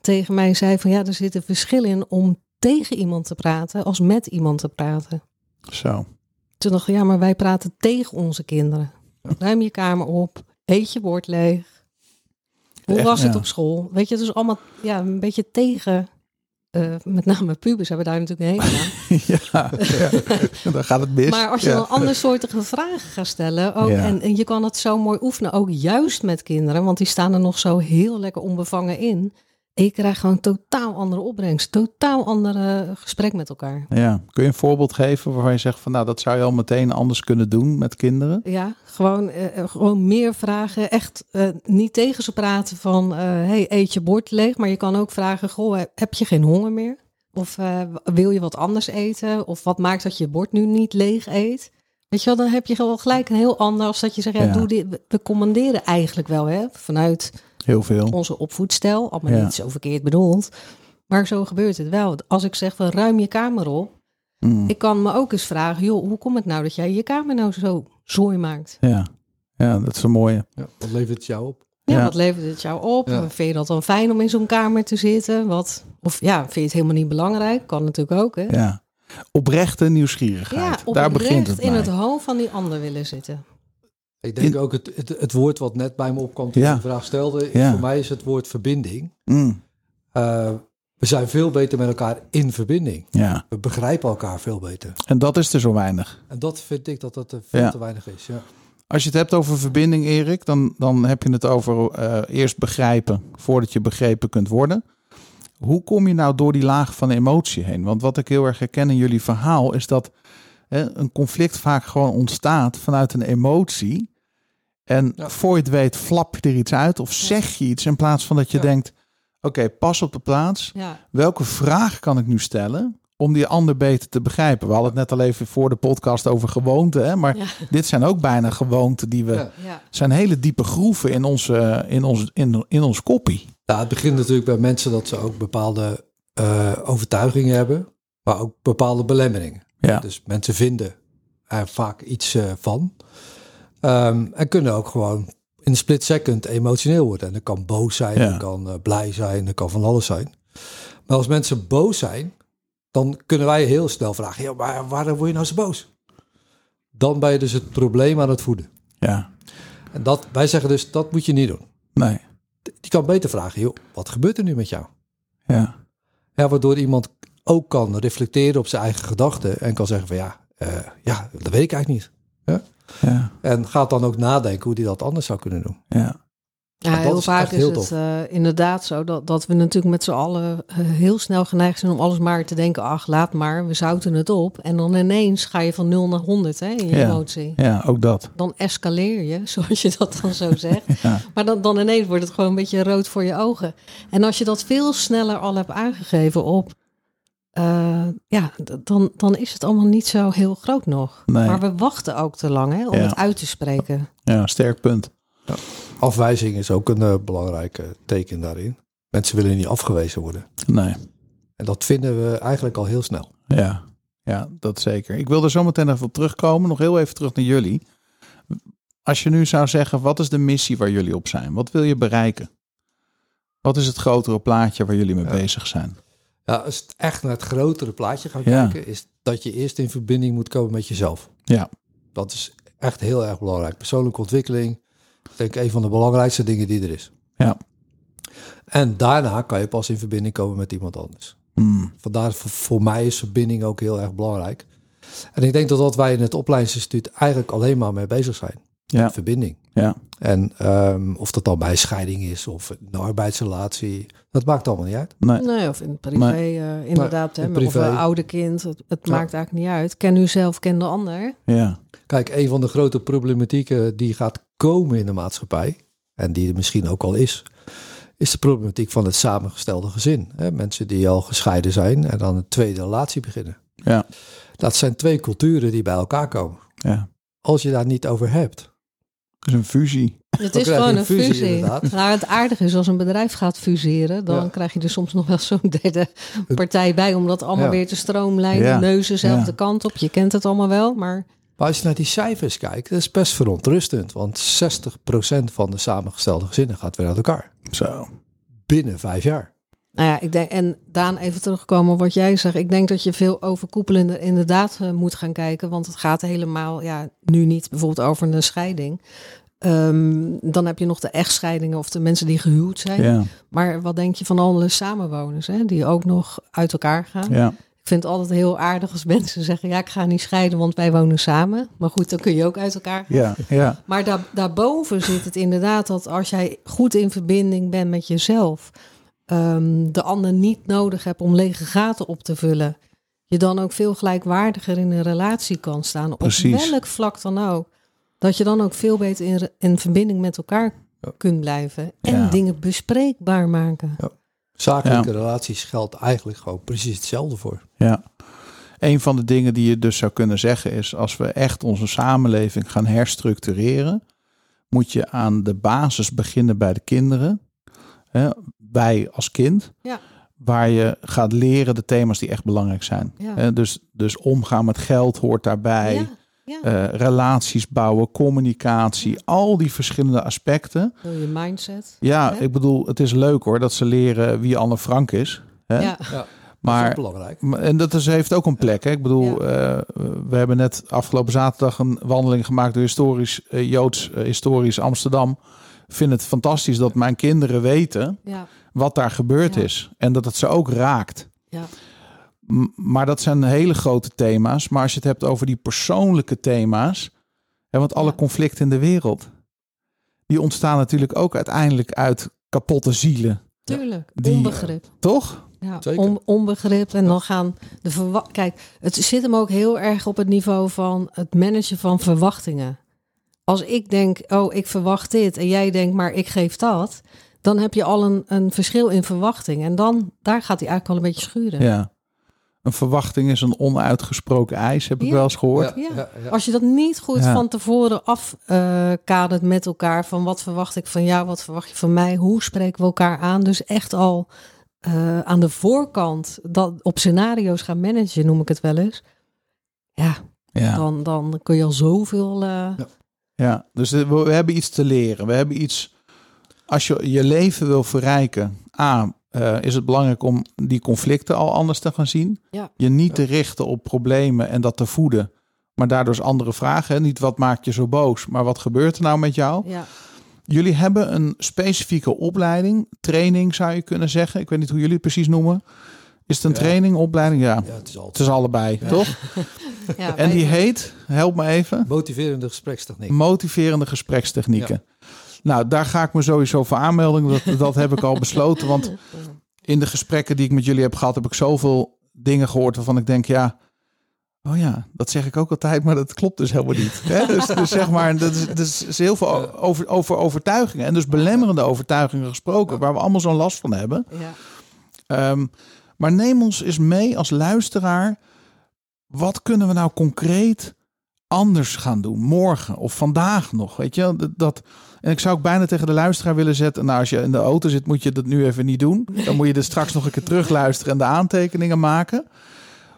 tegen mij zei van ja, er zit een verschil in om tegen iemand te praten als met iemand te praten. zo. Toen dacht ik, ja, maar wij praten tegen onze kinderen. Ruim je kamer op, eet je bord leeg. Hoe Echt, was het ja. op school? Weet je, het is allemaal ja, een beetje tegen. eh, met name pubers hebben daar natuurlijk een hele aan. ja, ja, dan gaat het mis. Maar als je Ja. dan andersoortige vragen gaat stellen, ook, Ja. en, en je kan het zo mooi oefenen, ook juist met kinderen, want die staan er nog zo heel lekker onbevangen in. En je krijgt gewoon totaal andere opbrengst, totaal andere gesprek met elkaar. Ja. Kun je een voorbeeld geven waarvan je zegt van nou dat zou je al meteen anders kunnen doen met kinderen? Ja, gewoon, eh, eh, gewoon meer vragen. Echt eh, niet tegen ze praten van, eh, hey, eet je bord leeg. Maar je kan ook vragen, goh, heb- heb je geen honger meer? Of eh, wil je wat anders eten? Of wat maakt dat je bord nu niet leeg eet? Weet je wel, dan heb je gewoon gelijk een heel ander als dat je zegt, ja, Ja. doe dit. We- We commanderen eigenlijk wel, hè, vanuit Heel veel. onze opvoedstijl. Allemaal Ja. niet zo verkeerd bedoeld. Maar zo gebeurt het wel. Als ik zeg, van, ruim je kamer op. Mm. Ik kan me ook eens vragen, joh, hoe komt het nou dat jij je kamer nou zo zooi maakt? Ja. ja, dat is een mooie. Ja, wat levert het jou op? Ja, Ja. wat levert het jou op? Ja. Vind je dat dan fijn om in zo'n kamer te zitten? Wat, of ja, vind je het helemaal niet belangrijk? Kan natuurlijk ook, hè? Ja, Ja. Oprechte nieuwsgierigheid. Daar begint het in bij. het hoofd van die ander willen zitten. Ik denk In- ook het, het, het woord wat net bij me opkwam toen Ja. je de vraag stelde. Ja. Voor mij is het woord verbinding. Mm. Eh, we zijn veel beter met elkaar in verbinding. Ja, We begrijpen elkaar veel beter. en dat is er zo weinig. En dat vind ik dat dat er veel Ja. te weinig is. Ja. Als je het hebt over verbinding, Erik, dan, dan heb je het over eh, eerst begrijpen voordat je begrepen kunt worden. Hoe kom je nou door die laag van emotie heen? Want wat ik heel erg herken in jullie verhaal is dat hè, een conflict vaak gewoon ontstaat vanuit een emotie. En Ja. voor je het weet, flap je er iets uit of zeg je iets in plaats van dat je Ja. denkt: oké, pas op de plaats. Ja, Welke vraag kan ik nu stellen om die ander beter te begrijpen? We hadden het net al even voor de podcast over gewoonten, hè? maar Ja. dit zijn ook bijna gewoonten die we. Ja. ja. zijn hele diepe groeven in, onze, in, ons, in, in ons koppie. Ja, het begint natuurlijk bij mensen dat ze ook bepaalde eh, overtuigingen hebben, maar ook bepaalde belemmeringen. Ja. Dus mensen vinden er vaak iets eh, van. Ehm, en kunnen ook gewoon in een split second emotioneel worden. En dat kan boos zijn, Ja. dat kan eh, blij zijn, dat kan van alles zijn. Maar als mensen boos zijn, dan kunnen wij heel snel vragen... "Joh, maar waarom word je nou zo boos? Dan ben je dus het probleem aan het voeden. Ja. En dat, wij zeggen dus, dat moet je niet doen. Nee. Die kan beter vragen, joh, wat gebeurt er nu met jou? Ja. Ja, waardoor iemand ook kan reflecteren op zijn eigen gedachten en kan zeggen van ja, eh, ja dat weet ik eigenlijk niet. Ja. En gaat dan ook nadenken hoe hij dat anders zou kunnen doen. Ja. Ja, dat heel is vaak echt is heel het tof. eh, inderdaad zo dat, dat we natuurlijk met z'n allen eh, heel snel geneigd zijn om alles maar te denken. Ach, laat maar, we zouten het op. En dan ineens ga je van 0 naar 100 hè, in je Ja. emotie. ja, ook dat. Dan escaleer je, zoals je dat dan zo zegt. Ja. Maar dan, dan ineens wordt het gewoon een beetje rood voor je ogen. En als je dat veel sneller al hebt aangegeven op... eh, ja, d- dan, dan is het allemaal niet zo heel groot nog. Nee. Maar we wachten ook te lang hè, om Ja. het uit te spreken. Ja, sterk punt. Afwijzing is ook een eh, belangrijk eh, teken daarin. Mensen willen niet afgewezen worden. Nee. En dat vinden we eigenlijk al heel snel. Ja. Ja, dat zeker. Ik wil er zo meteen even op terugkomen. Nog heel even terug naar jullie. Als je nu zou zeggen, wat is de missie waar jullie op zijn? Wat wil je bereiken? Wat is het grotere plaatje waar jullie mee bezig zijn? Ja, als het echt naar het grotere plaatje gaan Ja. kijken, is dat je eerst in verbinding moet komen met jezelf. Ja. Dat is echt heel erg belangrijk. Persoonlijke ontwikkeling, ik denk een van de belangrijkste dingen die er is. Ja. En daarna kan je pas in verbinding komen met iemand anders. Mm. Vandaar voor, voor mij is verbinding ook heel erg belangrijk. En ik denk dat wat wij in het opleidingsinstituut eigenlijk alleen maar mee bezig zijn. Ja. Verbinding. Ja. En ehm, of dat dan bij scheiding is of een arbeidsrelatie, dat maakt allemaal niet uit. Nee. Nee, of in het privé Maar- eh, inderdaad. in hè, privé. Of een oude kind, het, het Ja. maakt eigenlijk niet uit. Ken u zelf, ken de ander. Ja. Kijk, een van de grote problematieken die gaat komen in de maatschappij, en die er misschien ook al is, is de problematiek van het samengestelde gezin. Hè, mensen die al gescheiden zijn en dan een tweede relatie beginnen. Ja. Dat zijn twee culturen die bij elkaar komen. Ja. Als je daar niet over hebt, Het is een fusie. Het Dan is krijg je gewoon een een fusie, fusie. inderdaad. Maar het aardige is, als een bedrijf gaat fuseren... dan Ja. krijg je er soms nog wel zo'n derde partij bij... om dat allemaal Ja. weer te stroomlijnen. Ja. Neuzen zelf Ja. de kant op. Je kent het allemaal wel, maar... Maar als je naar die cijfers kijkt, dat is best verontrustend. Want 60% van de samengestelde gezinnen gaat weer uit elkaar. Zo. Binnen vijf jaar. Nou ja, ik denk, en Daan, even terugkomen op wat jij zegt. Ik denk dat je veel overkoepelender inderdaad eh, moet gaan kijken. Want het gaat helemaal, ja, nu niet bijvoorbeeld over een scheiding. Ehm, dan heb je nog de echtscheidingen of de mensen die gehuwd zijn. Ja. Maar wat denk je van alle samenwoners, hè, die ook nog uit elkaar gaan? Ja. Ik vind het altijd heel aardig als mensen zeggen, ja, ik ga niet scheiden, want wij wonen samen. Maar goed, dan kun je ook uit elkaar gaan. Ja. Ja. Maar daar, daarboven zit het inderdaad dat als jij goed in verbinding bent met jezelf, ehm, de ander niet nodig hebt om lege gaten op te vullen, je dan ook veel gelijkwaardiger in een relatie kan staan. Precies. Op welk vlak dan ook. Dat je dan ook veel beter in, re- in verbinding met elkaar kunt blijven en Ja. dingen bespreekbaar maken. Zakelijke relaties geldt eigenlijk gewoon precies hetzelfde voor. Ja. Een van de dingen die je dus zou kunnen zeggen is: als we echt onze samenleving gaan herstructureren, moet je aan de basis beginnen bij de kinderen. Hè, wij als kind. Ja. Waar je gaat leren de thema's die echt belangrijk zijn. Ja. Hè, dus, dus omgaan met geld hoort daarbij. Ja, ja. Eh, relaties bouwen, communicatie, al die verschillende aspecten. Door je mindset. Ja, Ja. ik bedoel, het is leuk hoor dat ze leren wie Anne Frank is. Hè? Ja. dat maar is ook belangrijk. maar- En dat is, heeft ook een plek. Hè? Ik bedoel, eh, we hebben net afgelopen zaterdag een wandeling gemaakt door historisch eh, Joods, eh, historisch Amsterdam. Ik vind het fantastisch dat mijn kinderen weten Ja. wat daar gebeurd Ja. is. En dat het ze ook raakt. Ja. M- maar dat zijn hele grote thema's. Maar als je het hebt over die persoonlijke thema's. hè, Hè, want alle Ja. conflicten in de wereld, die ontstaan natuurlijk ook uiteindelijk uit kapotte zielen, Tuurlijk, Die, eh, onbegrip. toch? Ja, zeker. on- onbegrip. En dan gaan de verwa- Kijk, het zit hem ook heel erg op het niveau van het managen van verwachtingen. Als ik denk, oh, ik verwacht dit. En jij denkt, maar ik geef dat. Dan heb je al een, een verschil in verwachting. En dan, daar gaat hij eigenlijk al een beetje schuren. Ja. Een verwachting is een onuitgesproken eis, heb ik Ja. wel eens gehoord. Ja. Oh. ja, ja. Als je dat niet goed Ja. van tevoren afkadert met elkaar, van wat verwacht ik van jou, wat verwacht je van mij, hoe spreken we elkaar aan? Dus echt al eh, aan de voorkant dat op scenario's gaan managen, noem ik het wel eens. Ja, Ja. Dan, dan kun je al zoveel. eh, Ja. Ja, dus we, we hebben iets te leren. We hebben iets. Als je je leven wil verrijken, A, eh, is het belangrijk om die conflicten al anders te gaan zien. Ja. Je niet te richten op problemen en dat te voeden. Maar daardoor is andere vragen. Hè? Niet wat maakt je zo boos, maar wat gebeurt er nou met jou? ja. Jullie hebben een specifieke opleiding, training zou je kunnen zeggen. Ik weet niet hoe jullie het precies noemen. Is het een Ja. training, opleiding? Ja, Ja, het is het altijd is allebei, toch? Ja, En wij- die heet, help me even. motiverende gesprekstechniek. Motiverende gesprekstechnieken. Nou, daar ga ik me sowieso voor aanmelden. Dat, dat heb ik al besloten. Want in de gesprekken die ik met jullie heb gehad, heb ik zoveel dingen gehoord waarvan ik denk, ja. Oh ja, dat zeg ik ook altijd, maar dat klopt dus helemaal niet. Hè? Dus, dus zeg maar, dat is, dat is- is heel veel o- over, over overtuigingen. En dus belemmerende overtuigingen gesproken, waar we allemaal zo'n last van hebben. ja. Ehm, maar neem ons eens mee als luisteraar. Wat kunnen we nou concreet anders gaan doen? Morgen of vandaag nog? Weet je, wel? dat, dat, en ik zou ook bijna tegen de luisteraar willen zetten. Nou, als je in de auto zit, moet je dat nu even niet doen. Dan moet je er straks nog een keer terugluisteren en de aantekeningen maken.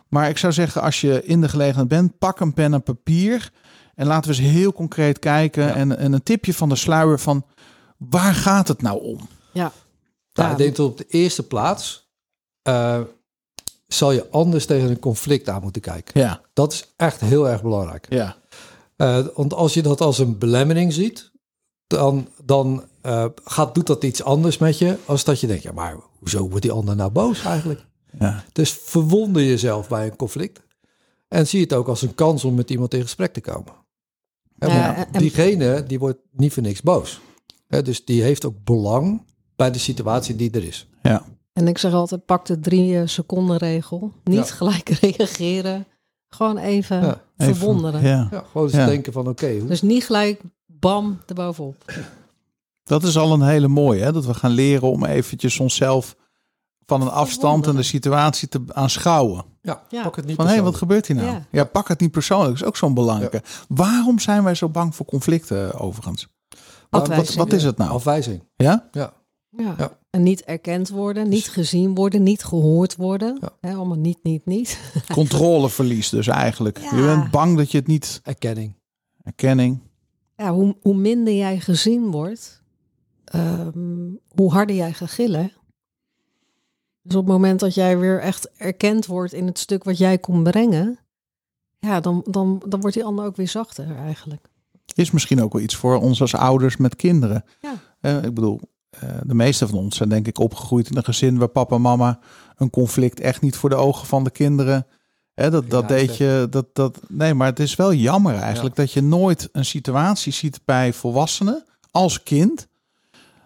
Maar ik zou zeggen, als je in de gelegenheid bent, pak een pen en papier. En laten we eens heel concreet kijken. En, en een tipje van de sluier van waar gaat het nou om? ja. Nou, Ja. ik denk dat op de eerste plaats eh, zal je anders tegen een conflict aan moeten kijken. Ja, Dat is echt heel erg belangrijk. ja, Eh, want als je dat als een belemmering ziet, dan, dan eh, gaat, doet dat iets anders met je als dat je denkt, ja maar hoezo wordt die ander nou boos eigenlijk? ja. Dus verwonder jezelf bij een conflict en zie het ook als een kans om met iemand in gesprek te komen. Hè, Ja, want en- en- diegene die wordt niet voor niks boos. Hè, dus die heeft ook belang bij de situatie die er is. ja. En ik zeg altijd: pak de drie eh, seconden regel. Niet Ja. gelijk reageren. Gewoon even Ja, Even- verwonderen. Ja. Ja, gewoon eens Ja. denken van oké, hoe- Dus niet gelijk bam erbovenop. Dat is al een hele mooie, hè? dat we gaan leren om eventjes onszelf van een afstand en de situatie te aanschouwen. ja, Ja. pak het niet Van hé, wat gebeurt hier nou? Ja. Ja. pak het niet persoonlijk, dat is ook zo'n belangrijke. Waarom zijn wij zo bang voor conflicten eh, overigens? Wat, wat, Afwijzing. wat is het nou? nou? Afwijzing, Ja? ja. Ja. Ja. Dus- En niet erkend worden, niet gezien worden, niet gehoord worden. Ja. Hè, allemaal niet, niet, niet. Controleverlies dus eigenlijk. Ja. Je bent bang dat je het niet... Erkenning. Erkenning. Ja, hoe, hoe minder jij gezien wordt, ehm, hoe harder jij gaat gillen. Dus op het moment dat jij weer echt erkend wordt in het stuk wat jij kon brengen, ja, dan, dan, dan wordt die ander ook weer zachter eigenlijk. Is misschien ook wel iets voor ons als ouders met kinderen. Ja. Eh, ik bedoel, eh, de meeste van ons zijn denk ik opgegroeid in een gezin waar papa en mama een conflict echt niet voor de ogen van de kinderen. Hè, dat dat Ja, deed zeg. je. Dat, dat, nee, maar het is wel jammer eigenlijk dat je nooit een situatie ziet bij volwassenen als kind.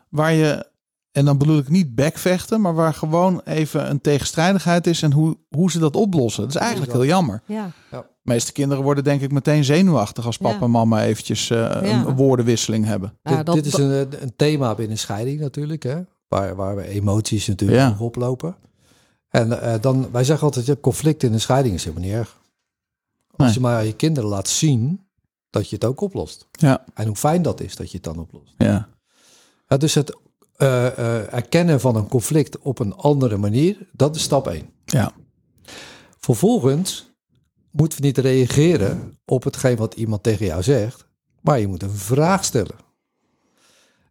Waar je, en dan bedoel ik niet bekvechten, maar waar gewoon even een tegenstrijdigheid is en hoe, hoe ze dat oplossen. Dat is eigenlijk heel jammer. Ja, De meeste kinderen worden denk ik meteen zenuwachtig als papa Ja. en mama eventjes eh, Ja. een woordenwisseling hebben. nou, dit, dat, dit is een, een thema binnen scheiding natuurlijk, hè? Waar, waar we emoties natuurlijk Ja. nog oplopen. En eh, dan, wij zeggen altijd, ja, conflict in een scheiding is helemaal niet erg. Als Nee. je maar aan je kinderen laat zien dat je het ook oplost. Ja, En hoe fijn dat is dat je het dan oplost. ja. Ja, dus het eh, eh, erkennen van een conflict op een andere manier, dat is stap 1. Ja, Vervolgens moeten we niet reageren op hetgeen wat iemand tegen jou zegt, maar je moet een vraag stellen.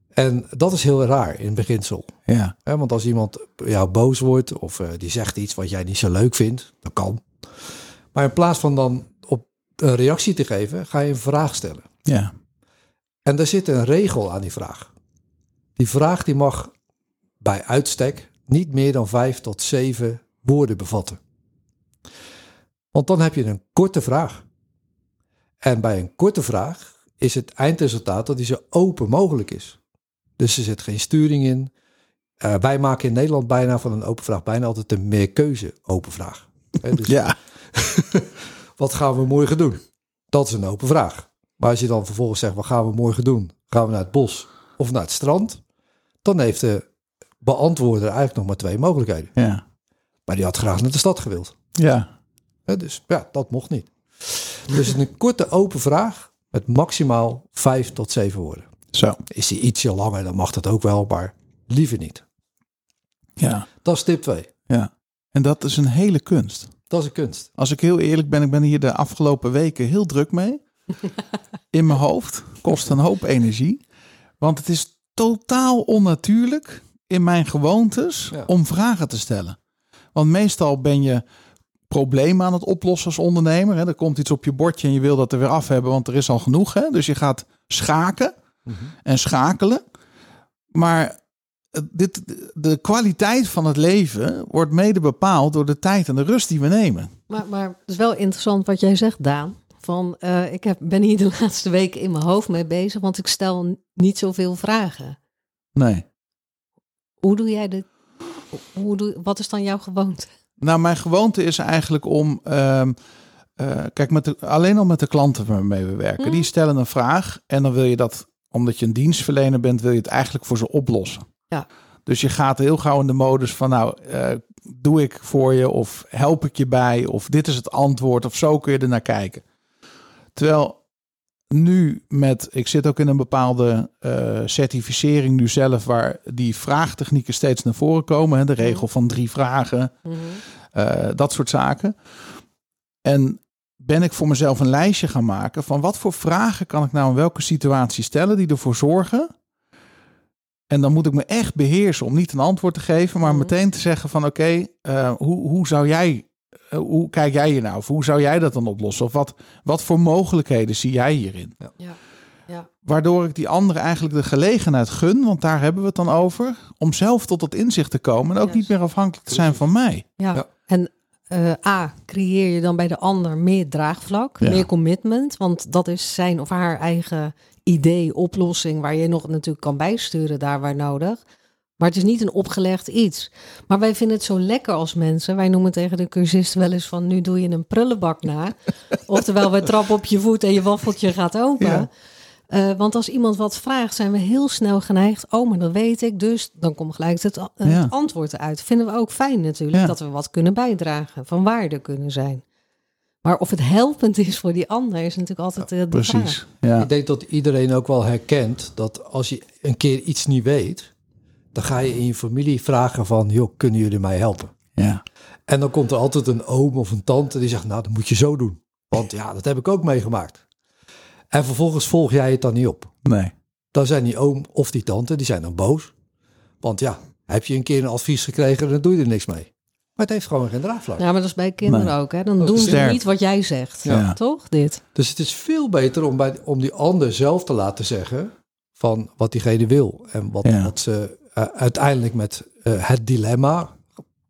En dat is heel raar in het beginsel. ja, Hè, want als iemand op jou boos wordt of eh, die zegt iets wat jij niet zo leuk vindt, dat kan. Maar in plaats van dan op een reactie te geven, ga je een vraag stellen. ja, En daar zit een regel aan die vraag. Die vraag die mag bij uitstek niet meer dan vijf tot zeven woorden bevatten. Want dan heb je een korte vraag. En bij een korte vraag is het eindresultaat dat die zo open mogelijk is. Dus er zit geen sturing in. Eh, wij maken in Nederland bijna van een open vraag bijna altijd een meerkeuze open vraag. Hè, dus Ja, wat gaan we morgen doen? Dat is een open vraag. Maar als je dan vervolgens zegt, wat gaan we morgen doen? Gaan we naar het bos of naar het strand? Dan heeft de beantwoorder eigenlijk nog maar twee mogelijkheden. ja, Maar die had graag naar de stad gewild. ja. Hè, dus ja, dat mocht niet. Dus een korte open vraag met maximaal vijf tot zeven woorden. Zo, Is die ietsje langer, dan mag dat ook wel, maar liever niet. ja, Dat is tip 2. ja. En dat is een hele kunst. Dat is een kunst. Als ik heel eerlijk ben, ik ben hier de afgelopen weken heel druk mee. In mijn hoofd. Kost een hoop energie. Want het is totaal onnatuurlijk in mijn gewoontes Ja. om vragen te stellen. Want meestal ben je problemen aan het oplossen als ondernemer. Hè. Er komt iets op je bordje en je wil dat er weer af hebben, want er is al genoeg. Hè. Dus je gaat schaken en schakelen. Maar eh, dit, de kwaliteit van het leven wordt mede bepaald door de tijd en de rust die we nemen. Maar, maar het is wel interessant wat jij zegt, Daan. Van, eh, ik heb, ben hier de laatste weken in mijn hoofd mee bezig, want ik stel n- niet zoveel vragen. Nee. Hoe doe jij dit? Hoe doe, wat is dan jouw gewoonte? Nou, mijn gewoonte is eigenlijk om. ehm, eh, kijk, met de, alleen al met de klanten waarmee we werken. Mm. Die stellen een vraag en dan wil je dat, omdat je een dienstverlener bent, wil je het eigenlijk voor ze oplossen. Ja. Dus je gaat heel gauw in de modus van, nou, eh, doe ik voor je of help ik je bij of dit is het antwoord of zo kun je er naar kijken. Terwijl nu met, ik zit ook in een bepaalde eh, certificering nu zelf, waar die vraagtechnieken steeds naar voren komen. Hè, de regel van drie vragen. Mhm. Eh, dat soort zaken. En ben ik voor mezelf een lijstje gaan maken van wat voor vragen kan ik nou in welke situatie stellen die ervoor zorgen. En dan moet ik me echt beheersen om niet een antwoord te geven, maar Mhm. meteen te zeggen van oké, eh, hoe, hoe zou jij, eh, hoe kijk jij hier nou? Of hoe zou jij dat dan oplossen? Of wat, wat voor mogelijkheden zie jij hierin? Ja. Ja. Waardoor ik die anderen eigenlijk de gelegenheid gun, want daar hebben we het dan over, om zelf tot dat inzicht te komen en ook Juist. niet meer afhankelijk te zijn van mij. Ja. Ja. En eh, A, creëer je dan bij de ander meer draagvlak, Ja. meer commitment. Want dat is zijn of haar eigen idee, oplossing, waar je nog natuurlijk kan bijsturen daar waar nodig. Maar het is niet een opgelegd iets. Maar wij vinden het zo lekker als mensen. Wij noemen tegen de cursisten wel eens van... nu doe je een prullenbak na. Oftewel, wij trappen op je voet en je waffeltje gaat open. Ja. Eh, want als iemand wat vraagt, zijn we heel snel geneigd... oh, maar dat weet ik, dus dan komt gelijk het, a- eh, Ja. het antwoord eruit. Vinden we ook fijn natuurlijk, Ja. dat we wat kunnen bijdragen... van waarde kunnen zijn. Maar of het helpend is voor die ander, is natuurlijk altijd eh, de vraag. Precies. Ja. Ik denk dat iedereen ook wel herkent dat als je een keer iets niet weet, dan ga je in je familie vragen van, joh, kunnen jullie mij helpen? Ja. En dan komt er altijd een oom of een tante die zegt, nou, dat moet je zo doen. Want ja, dat heb ik ook meegemaakt. En vervolgens volg jij het dan niet op. Nee. Dan zijn die oom of die tante, die zijn dan boos. Want ja, heb je een keer een advies gekregen, dan doe je er niks mee. Maar het heeft gewoon geen draagvlak. Ja, Nou, maar dat is bij kinderen Nee. ook. Hè? Dan Dat doen is ze sterk. niet wat jij zegt. Ja. Ja. Toch, dit? Dus het is veel beter om, bij, om die ander zelf te laten zeggen van wat diegene wil. En wat, Ja. wat ze eh, uiteindelijk met eh, het dilemma,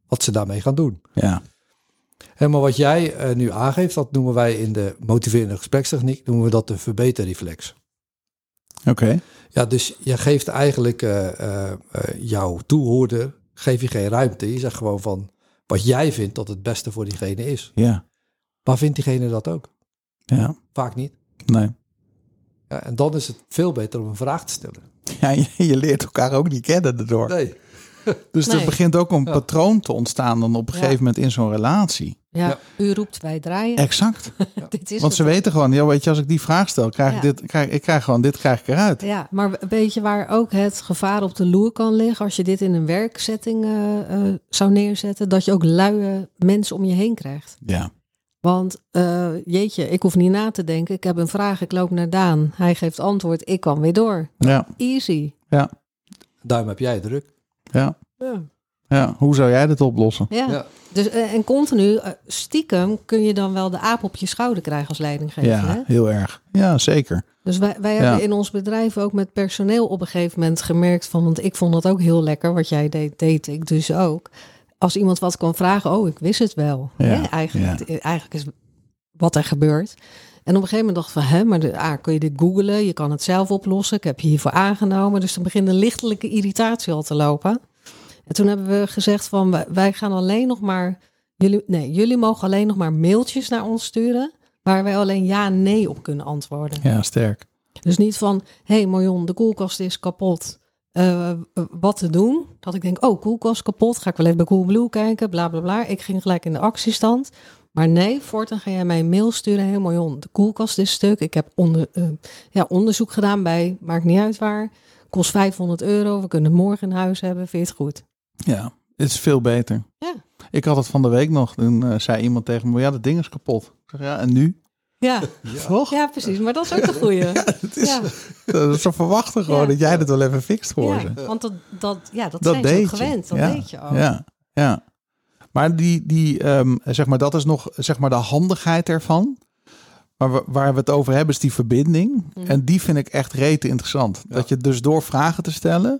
wat ze daarmee gaan doen. Ja. En maar wat jij eh, nu aangeeft, dat noemen wij in de motiverende gesprekstechniek, noemen we dat de verbeterreflex. Oké. Ja, dus je geeft eigenlijk eh, eh, eh, jouw toehoorder, geef je geen ruimte. Je zegt gewoon van wat jij vindt dat het beste voor diegene is. Ja. Maar vindt diegene dat ook? Ja. Vaak niet. Nee. Ja, en dan is het veel beter om een vraag te stellen. Ja, je, je leert elkaar ook niet kennen daardoor. Nee. Dus er Nee. begint ook een Ja. patroon te ontstaan dan op een Ja. gegeven moment in zo'n relatie. Ja, Ja. u roept, wij draaien. Exact. dit Want is het. ze weten gewoon, ja, weet je, als ik die vraag stel, krijg ik Ja. dit, krijg, ik krijg gewoon dit krijg ik eruit. Ja, maar een beetje waar ook het gevaar op de loer kan liggen... als je dit in een werkzetting eh, eh, zou neerzetten... dat je ook luie mensen om je heen krijgt. Ja. Want eh, jeetje, ik hoef niet na te denken. Ik heb een vraag, ik loop naar Daan. Hij geeft antwoord, ik kan weer door. Ja. Easy. Daarom heb jij het druk. Ja. Ja. Ja. Hoe zou jij dit oplossen? Ja. Dus, eh, en continu, eh, stiekem kun je dan wel de aap op je schouder krijgen als leidinggever. hè? Ja, heel erg. Ja, zeker. Dus wij, wij Ja. hebben in ons bedrijf ook met personeel op een gegeven moment gemerkt van, want ik vond dat ook heel lekker, wat jij deed, deed ik dus ook. Als iemand wat kwam vragen, oh, ik wist het wel. Ja, Hè, eigenlijk, eigenlijk is wat er gebeurt. En op een gegeven moment dacht ik van, hè, maar de, ah, kun je dit googlen? Je kan het zelf oplossen. Ik heb je hiervoor aangenomen. Dus dan begint een lichtelijke irritatie al te lopen. En toen hebben we gezegd van, wij- wij gaan alleen nog maar... Jullie, nee, jullie mogen alleen nog maar mailtjes naar ons sturen... waar wij alleen ja en nee op kunnen antwoorden. Ja, sterk. Dus niet van, hé hey Marion, de koelkast is kapot. Eh, eh, wat te doen? Dat ik denk, oh, koelkast kapot. Ga ik wel even bij Coolblue kijken, bla bla bla. Ik ging gelijk in de actiestand. Maar nee, voortaan ga jij mij een mail sturen. Hé hey Marion, de koelkast is stuk. Ik heb onder, eh, ja, onderzoek gedaan bij, maakt niet uit waar. Kost 500 euro. We kunnen het morgen in huis hebben. Vind je het goed? Ja, het is veel beter. Ja. Ik had het van de week nog. Toen eh, zei iemand tegen me, ja, dat ding is kapot. Ik zeg, ja, en nu? Ja, Toch? ja precies. Maar dat is ook de goeie. Ja, Het is, dat Ze verwachten gewoon Ja. dat jij dat wel even fixt voor ja, ze. want dat, dat, ja, dat, Dat zijn ze ook deed je. gewend. Dat Ja. weet je al. Ja, ja. Maar die, die ehm, zeg maar, dat is nog zeg maar de handigheid ervan. Maar wa- waar we het over hebben is die verbinding. Mhm. En die vind ik echt rete interessant. Dat je dus door vragen te stellen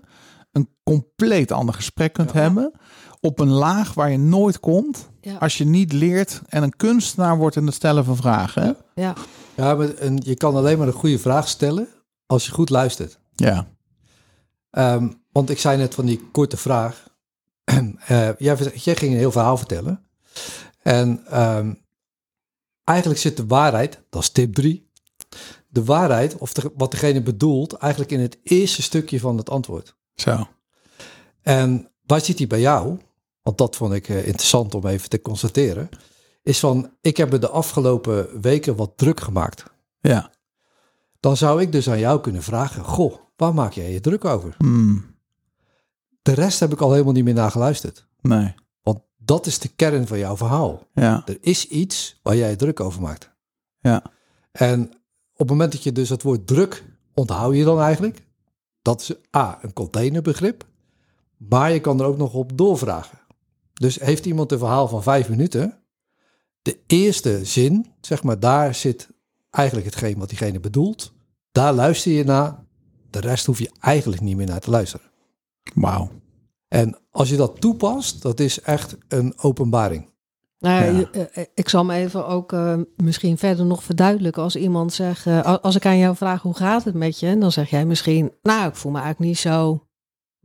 een compleet ander gesprek kunt hebben. Op een laag waar je nooit komt. Ja. Als je niet leert en een kunstenaar wordt in het stellen van vragen. hè? Ja. Ja, maar en je kan alleen maar een goede vraag stellen als je goed luistert. Ja. Ehm, want ik zei net van die korte vraag. Eh, jij, verz- jij ging een heel verhaal vertellen. En ehm, eigenlijk zit de waarheid, dat is tip 3. De waarheid, of de- wat degene bedoelt, eigenlijk in het eerste stukje van het antwoord. Zo. En waar zit die bij jou? Want dat vond ik eh, interessant om even te constateren. Is van, ik heb me de afgelopen weken wat druk gemaakt. Ja. Dan zou ik dus aan jou kunnen vragen, goh, waar maak jij je druk over? Hmm. De rest heb ik al helemaal niet meer naar geluisterd. Nee. Want dat is de kern van jouw verhaal. Ja. Er is iets waar jij je druk over maakt. Ja. En op het moment dat je dus het woord druk onthoud je dan eigenlijk. Dat is A, een containerbegrip. Maar je kan er ook nog op doorvragen. Dus heeft iemand een verhaal van vijf minuten. De eerste zin, zeg maar, daar zit eigenlijk hetgeen wat diegene bedoelt. Daar luister je naar. De rest hoef je eigenlijk niet meer naar te luisteren. Wauw. En als je dat toepast, dat is echt een openbaring. Nou, ja, Ja. je- eh, eh, ik zal me even ook eh, misschien verder nog verduidelijken. Als iemand zegt, eh, a- als ik aan jou vraag hoe gaat het met je, En dan zeg jij misschien, nou, ik voel me eigenlijk niet zo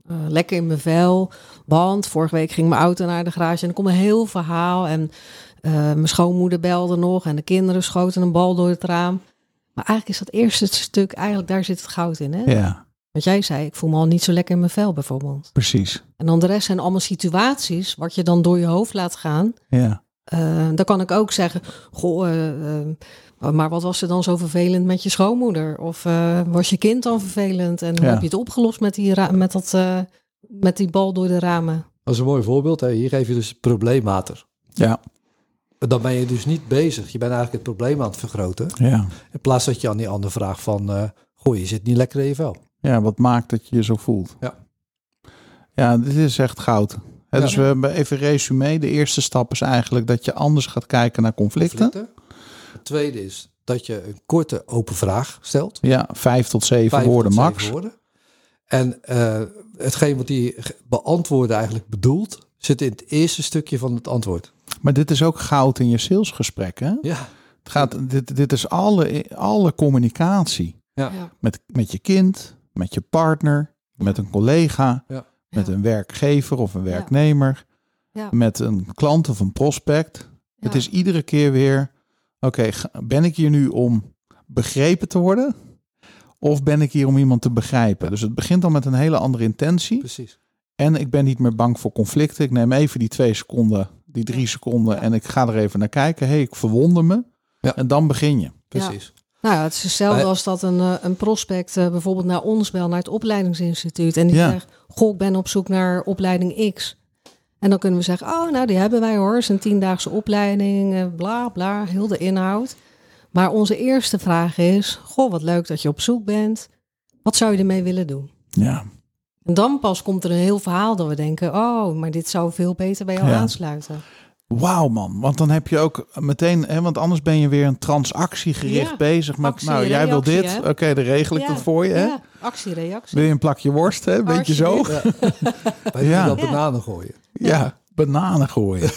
eh, lekker in mijn vel. Want vorige week ging mijn auto naar de garage en er komt een heel verhaal. En eh, mijn schoonmoeder belde nog en de kinderen schoten een bal door het raam. Maar eigenlijk is dat eerste stuk, eigenlijk daar zit het goud in. Hè? Ja. Want jij zei, ik voel me al niet zo lekker in mijn vel bijvoorbeeld. Precies. En dan de rest zijn allemaal situaties wat je dan door je hoofd laat gaan. Ja. Eh, dan kan ik ook zeggen, goh, eh, eh, maar wat was er dan zo vervelend met je schoonmoeder? Of eh, was je kind dan vervelend? En hoe Ja. heb je het opgelost met die, ra- met, dat, eh, met die bal door de ramen? Dat is een mooi voorbeeld. Hè? Hier geef je dus probleemmater. Ja. Dan ben je dus niet bezig. Je bent eigenlijk het probleem aan het vergroten. Ja. In plaats dat je aan die ander vraagt van... eh goh, je zit niet lekker in je vel. Ja, wat maakt dat je je zo voelt. Ja. Ja, dit is echt goud. Hè, Ja. Dus we hebben even resume. De eerste stap is eigenlijk dat je anders gaat kijken naar conflicten. Conflicten. Het tweede is dat je een korte open vraag stelt. Ja, vijf tot zeven Vijf woorden tot zeven max. woorden. En eh, hetgeen wat die ge- beantwoorden eigenlijk bedoelt... zit in het eerste stukje van het antwoord. Maar dit is ook goud in je salesgesprek. Hè? Ja. Het gaat, dit, dit is alle, alle communicatie. Ja. Ja. Met, met je kind, met je partner, met een collega, Ja. met Ja. een werkgever of een werknemer, Ja. met een klant of een prospect. Het Ja. is iedere keer weer, oké, ga- ben ik hier nu om begrepen te worden? Of ben ik hier om iemand te begrijpen? Dus het begint al met een hele andere intentie. Precies. En ik ben niet meer bang voor conflicten. Ik neem even die twee seconden, die drie seconden en ik ga er even naar kijken. hey, ik verwonder me. Ja. En dan begin je. Precies. Nou ja, het is hetzelfde Maar- als dat een, eh, een prospect eh, bijvoorbeeld naar ons belt, naar het opleidingsinstituut. En die Ja. zegt, goh, ik ben op zoek naar opleiding X. En dan kunnen we zeggen, oh, nou, die hebben wij hoor. Het is een tiendaagse opleiding, eh, bla, bla, heel de inhoud. Maar onze eerste vraag is, goh, wat leuk dat je op zoek bent. Wat zou je ermee willen doen? Ja, En dan pas komt er een heel verhaal dat we denken, oh, maar dit zou veel beter bij jou Ja. aansluiten. Wauw man, want dan heb je ook meteen, hè, want anders ben je weer een transactiegericht Ja, bezig met, actie, nou jij wil reactie, dit, hè? oké, dan regel ik Ja, dat voor je. Hè? Ja, actie, reactie. Wil je een plakje worst, hè? beetje zo? Alsjeblieft. Wij doen Ja. dat Ja. bananen gooien. Ja, bananen gooien.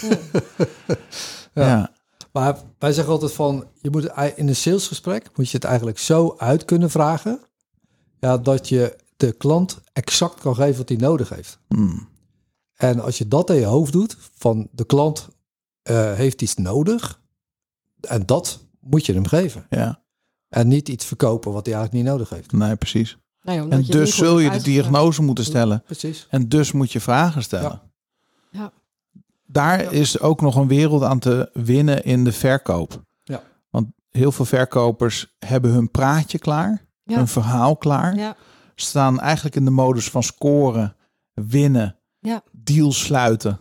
ja. Maar wij zeggen altijd van, je moet ei- in een salesgesprek moet je het eigenlijk zo uit kunnen vragen, ja, dat je de klant exact kan geven wat hij nodig heeft. Hmm. En als je dat in je hoofd doet, van de klant eh, heeft iets nodig, en dat moet je hem geven. Ja, En niet iets verkopen wat hij eigenlijk niet nodig heeft. nee, precies. Nou ja, omdat En je het dus niet goed zul je de hebt Mm. diagnose moeten stellen. Precies. En dus moet je vragen stellen. Ja. Ja. Daar is ook nog een wereld aan te winnen in de verkoop. Ja. Want heel veel verkopers hebben hun praatje klaar, Ja. hun verhaal klaar. uitgelegd. Ja, Staan eigenlijk in de modus van scoren, winnen, Ja. deals sluiten,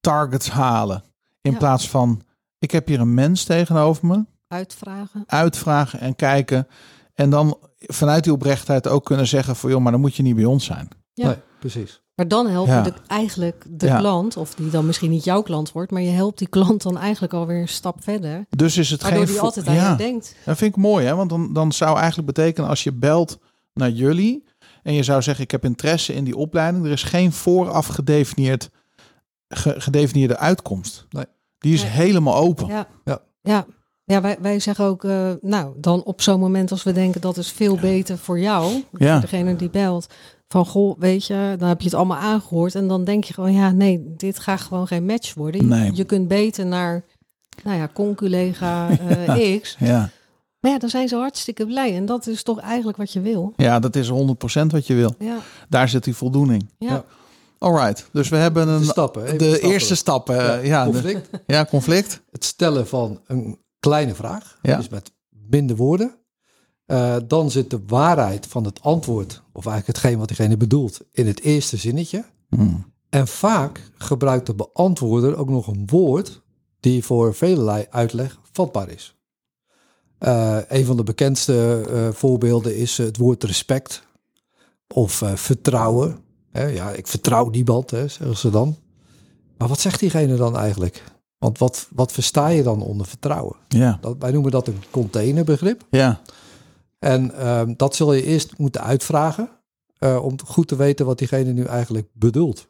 targets halen. In Ja. plaats van, ik heb hier een mens tegenover me, uitvragen. uitvragen en kijken. En dan vanuit die oprechtheid ook kunnen zeggen van, joh, maar dan moet je niet bij ons zijn. Ja. Nee, precies. Maar dan help je Ja. de- eigenlijk de Ja. klant, of die dan misschien niet jouw klant wordt, maar je helpt die klant dan eigenlijk alweer een stap verder. Dus is het Waardoor geen... die vo- altijd aan Ja. jou denkt. Dat vind ik mooi, hè? Want dan, dan zou eigenlijk betekenen als je belt naar jullie en je zou zeggen: Ik heb interesse in die opleiding, er is geen vooraf gedefinieerd, ge- gedefinieerde uitkomst. Nee. Die is Nee. helemaal open. Ja. Ja. ja. Ja, wij, wij zeggen ook, eh, nou, dan op zo'n moment als we denken dat is veel beter voor jou, Ja. degene die belt, van goh, weet je, dan heb je het allemaal aangehoord en dan denk je gewoon, ja, nee, dit gaat gewoon geen match worden. Je- Nee. Je kunt beter naar, nou ja, conculega eh, X. Ja. Maar ja, dan zijn ze hartstikke blij en dat is toch eigenlijk wat je wil. ja, dat is 100% wat je wil. Ja, Daar zit die voldoening. ja. Ja. Alright, dus we hebben De een, de, stappen. even stappen. eerste stap. eh, ja, de- Conflict. ja, conflict. het stellen van een kleine vraag, Ja. dus met minder woorden. Eh, dan zit de waarheid van het antwoord, of eigenlijk hetgeen wat diegene bedoelt, in het eerste zinnetje. Hmm. En vaak gebruikt de beantwoorder ook nog een woord die voor velelei uitleg vatbaar is. Eh, een van de bekendste eh, voorbeelden is het woord respect of eh, vertrouwen. Hè, ja, ik vertrouw niemand, hè, zeggen ze dan. Maar wat zegt diegene dan eigenlijk? Want wat, wat versta je dan onder vertrouwen? Ja, Dat, wij noemen dat een containerbegrip. ja, En ehm, dat zul je eerst moeten uitvragen eh, om goed te weten wat diegene nu eigenlijk bedoelt.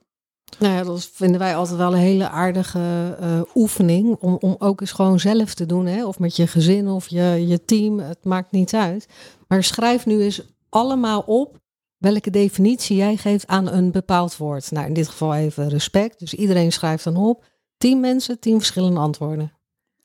Nou ja, dat vinden wij altijd wel een hele aardige eh, oefening. Om, om ook eens gewoon zelf te doen. Hè? Of met je gezin of je, je team. Het maakt niet uit. Maar schrijf nu eens allemaal op welke definitie jij geeft aan een bepaald woord. Nou, in dit geval even respect. Dus iedereen schrijft dan op. Tien mensen, tien verschillende antwoorden.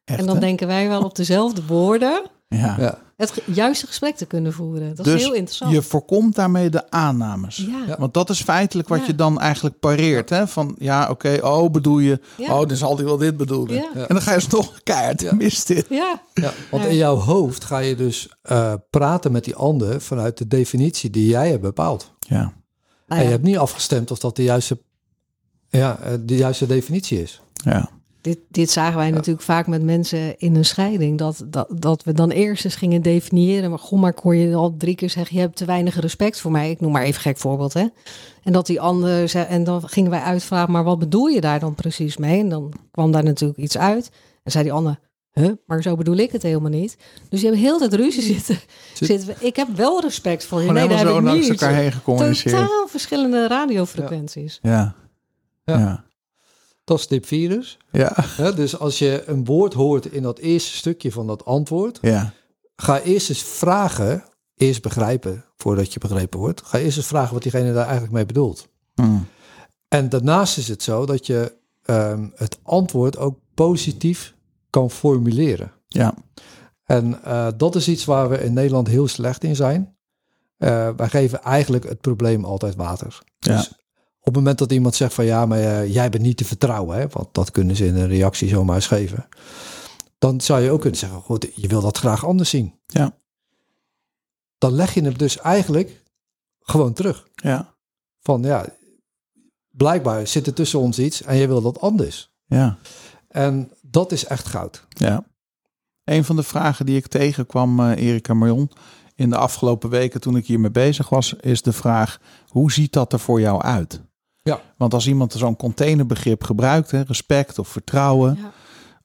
echt. en dan hè? denken wij wel op dezelfde woorden ja. Ja. het ge- juiste gesprek te kunnen voeren. Dat Dus is heel interessant. je voorkomt daarmee de aannames. ja. Ja. Want dat is feitelijk wat Ja. je dan eigenlijk pareert. Hè? Van ja, oké, oh bedoel je, Ja. oh dan zal hij wel dit bedoelen. Ja. En dan ga je alsnog keihard, mist dit. ja. Ja, want Ja. in jouw hoofd ga je dus eh, praten met die ander vanuit de definitie die jij hebt bepaald. Ja, Nou En Ah, ja, je hebt niet afgestemd of dat de juiste, ja, eh, de juiste definitie is. ja. Dit, dit zagen wij natuurlijk vaak met mensen in een scheiding. Dat, dat, dat we dan eerst eens gingen definiëren. Maar goh, maar ik hoor je al drie keer zeggen... je hebt te weinig respect voor mij. Ik noem maar even een gek voorbeeld, hè. En dat die ander zei... en dan gingen wij uitvragen... maar wat bedoel je daar dan precies mee? En dan kwam daar natuurlijk iets uit. En zei die ander... Huh, maar zo bedoel ik het helemaal niet. Dus je hebt heel dat ruzie zitten. zitten we, ik heb wel respect voor je. Gewoon Nee, daar heb helemaal ik zo langs niet. elkaar heen gecommuniceerd. Totaal verschillende radiofrequenties. Ja. Ja. Ja. Ja. Dat is tip 4 dus. ja, Hè, dus als je een woord hoort in dat eerste stukje van dat antwoord, ga eerst eens vragen, eerst begrijpen voordat je begrepen wordt. Ga eerst eens vragen wat diegene daar eigenlijk mee bedoelt. Hmm. En daarnaast is het zo dat je ehm, het antwoord ook positief kan formuleren. Ja. En eh, dat is iets waar we in Nederland heel slecht in zijn. Eh, wij geven eigenlijk het probleem altijd water. Ja. Dus op het moment dat iemand zegt van ja, maar eh, jij bent niet te vertrouwen, hè, want dat kunnen ze in een reactie zomaar eens geven. Dan zou je ook kunnen zeggen, goed, je wil dat graag anders zien. Ja. Dan leg je hem dus eigenlijk gewoon terug. ja, Van ja, blijkbaar zit er tussen ons iets en je wil dat anders. ja, En dat is echt goud. ja. Een van de vragen die ik tegenkwam, eh, Erika Marion, in de afgelopen weken toen ik hiermee bezig was, is de vraag: hoe ziet dat er voor jou uit? Ja. Want als iemand zo'n containerbegrip gebruikt, hè, respect of vertrouwen, Ja.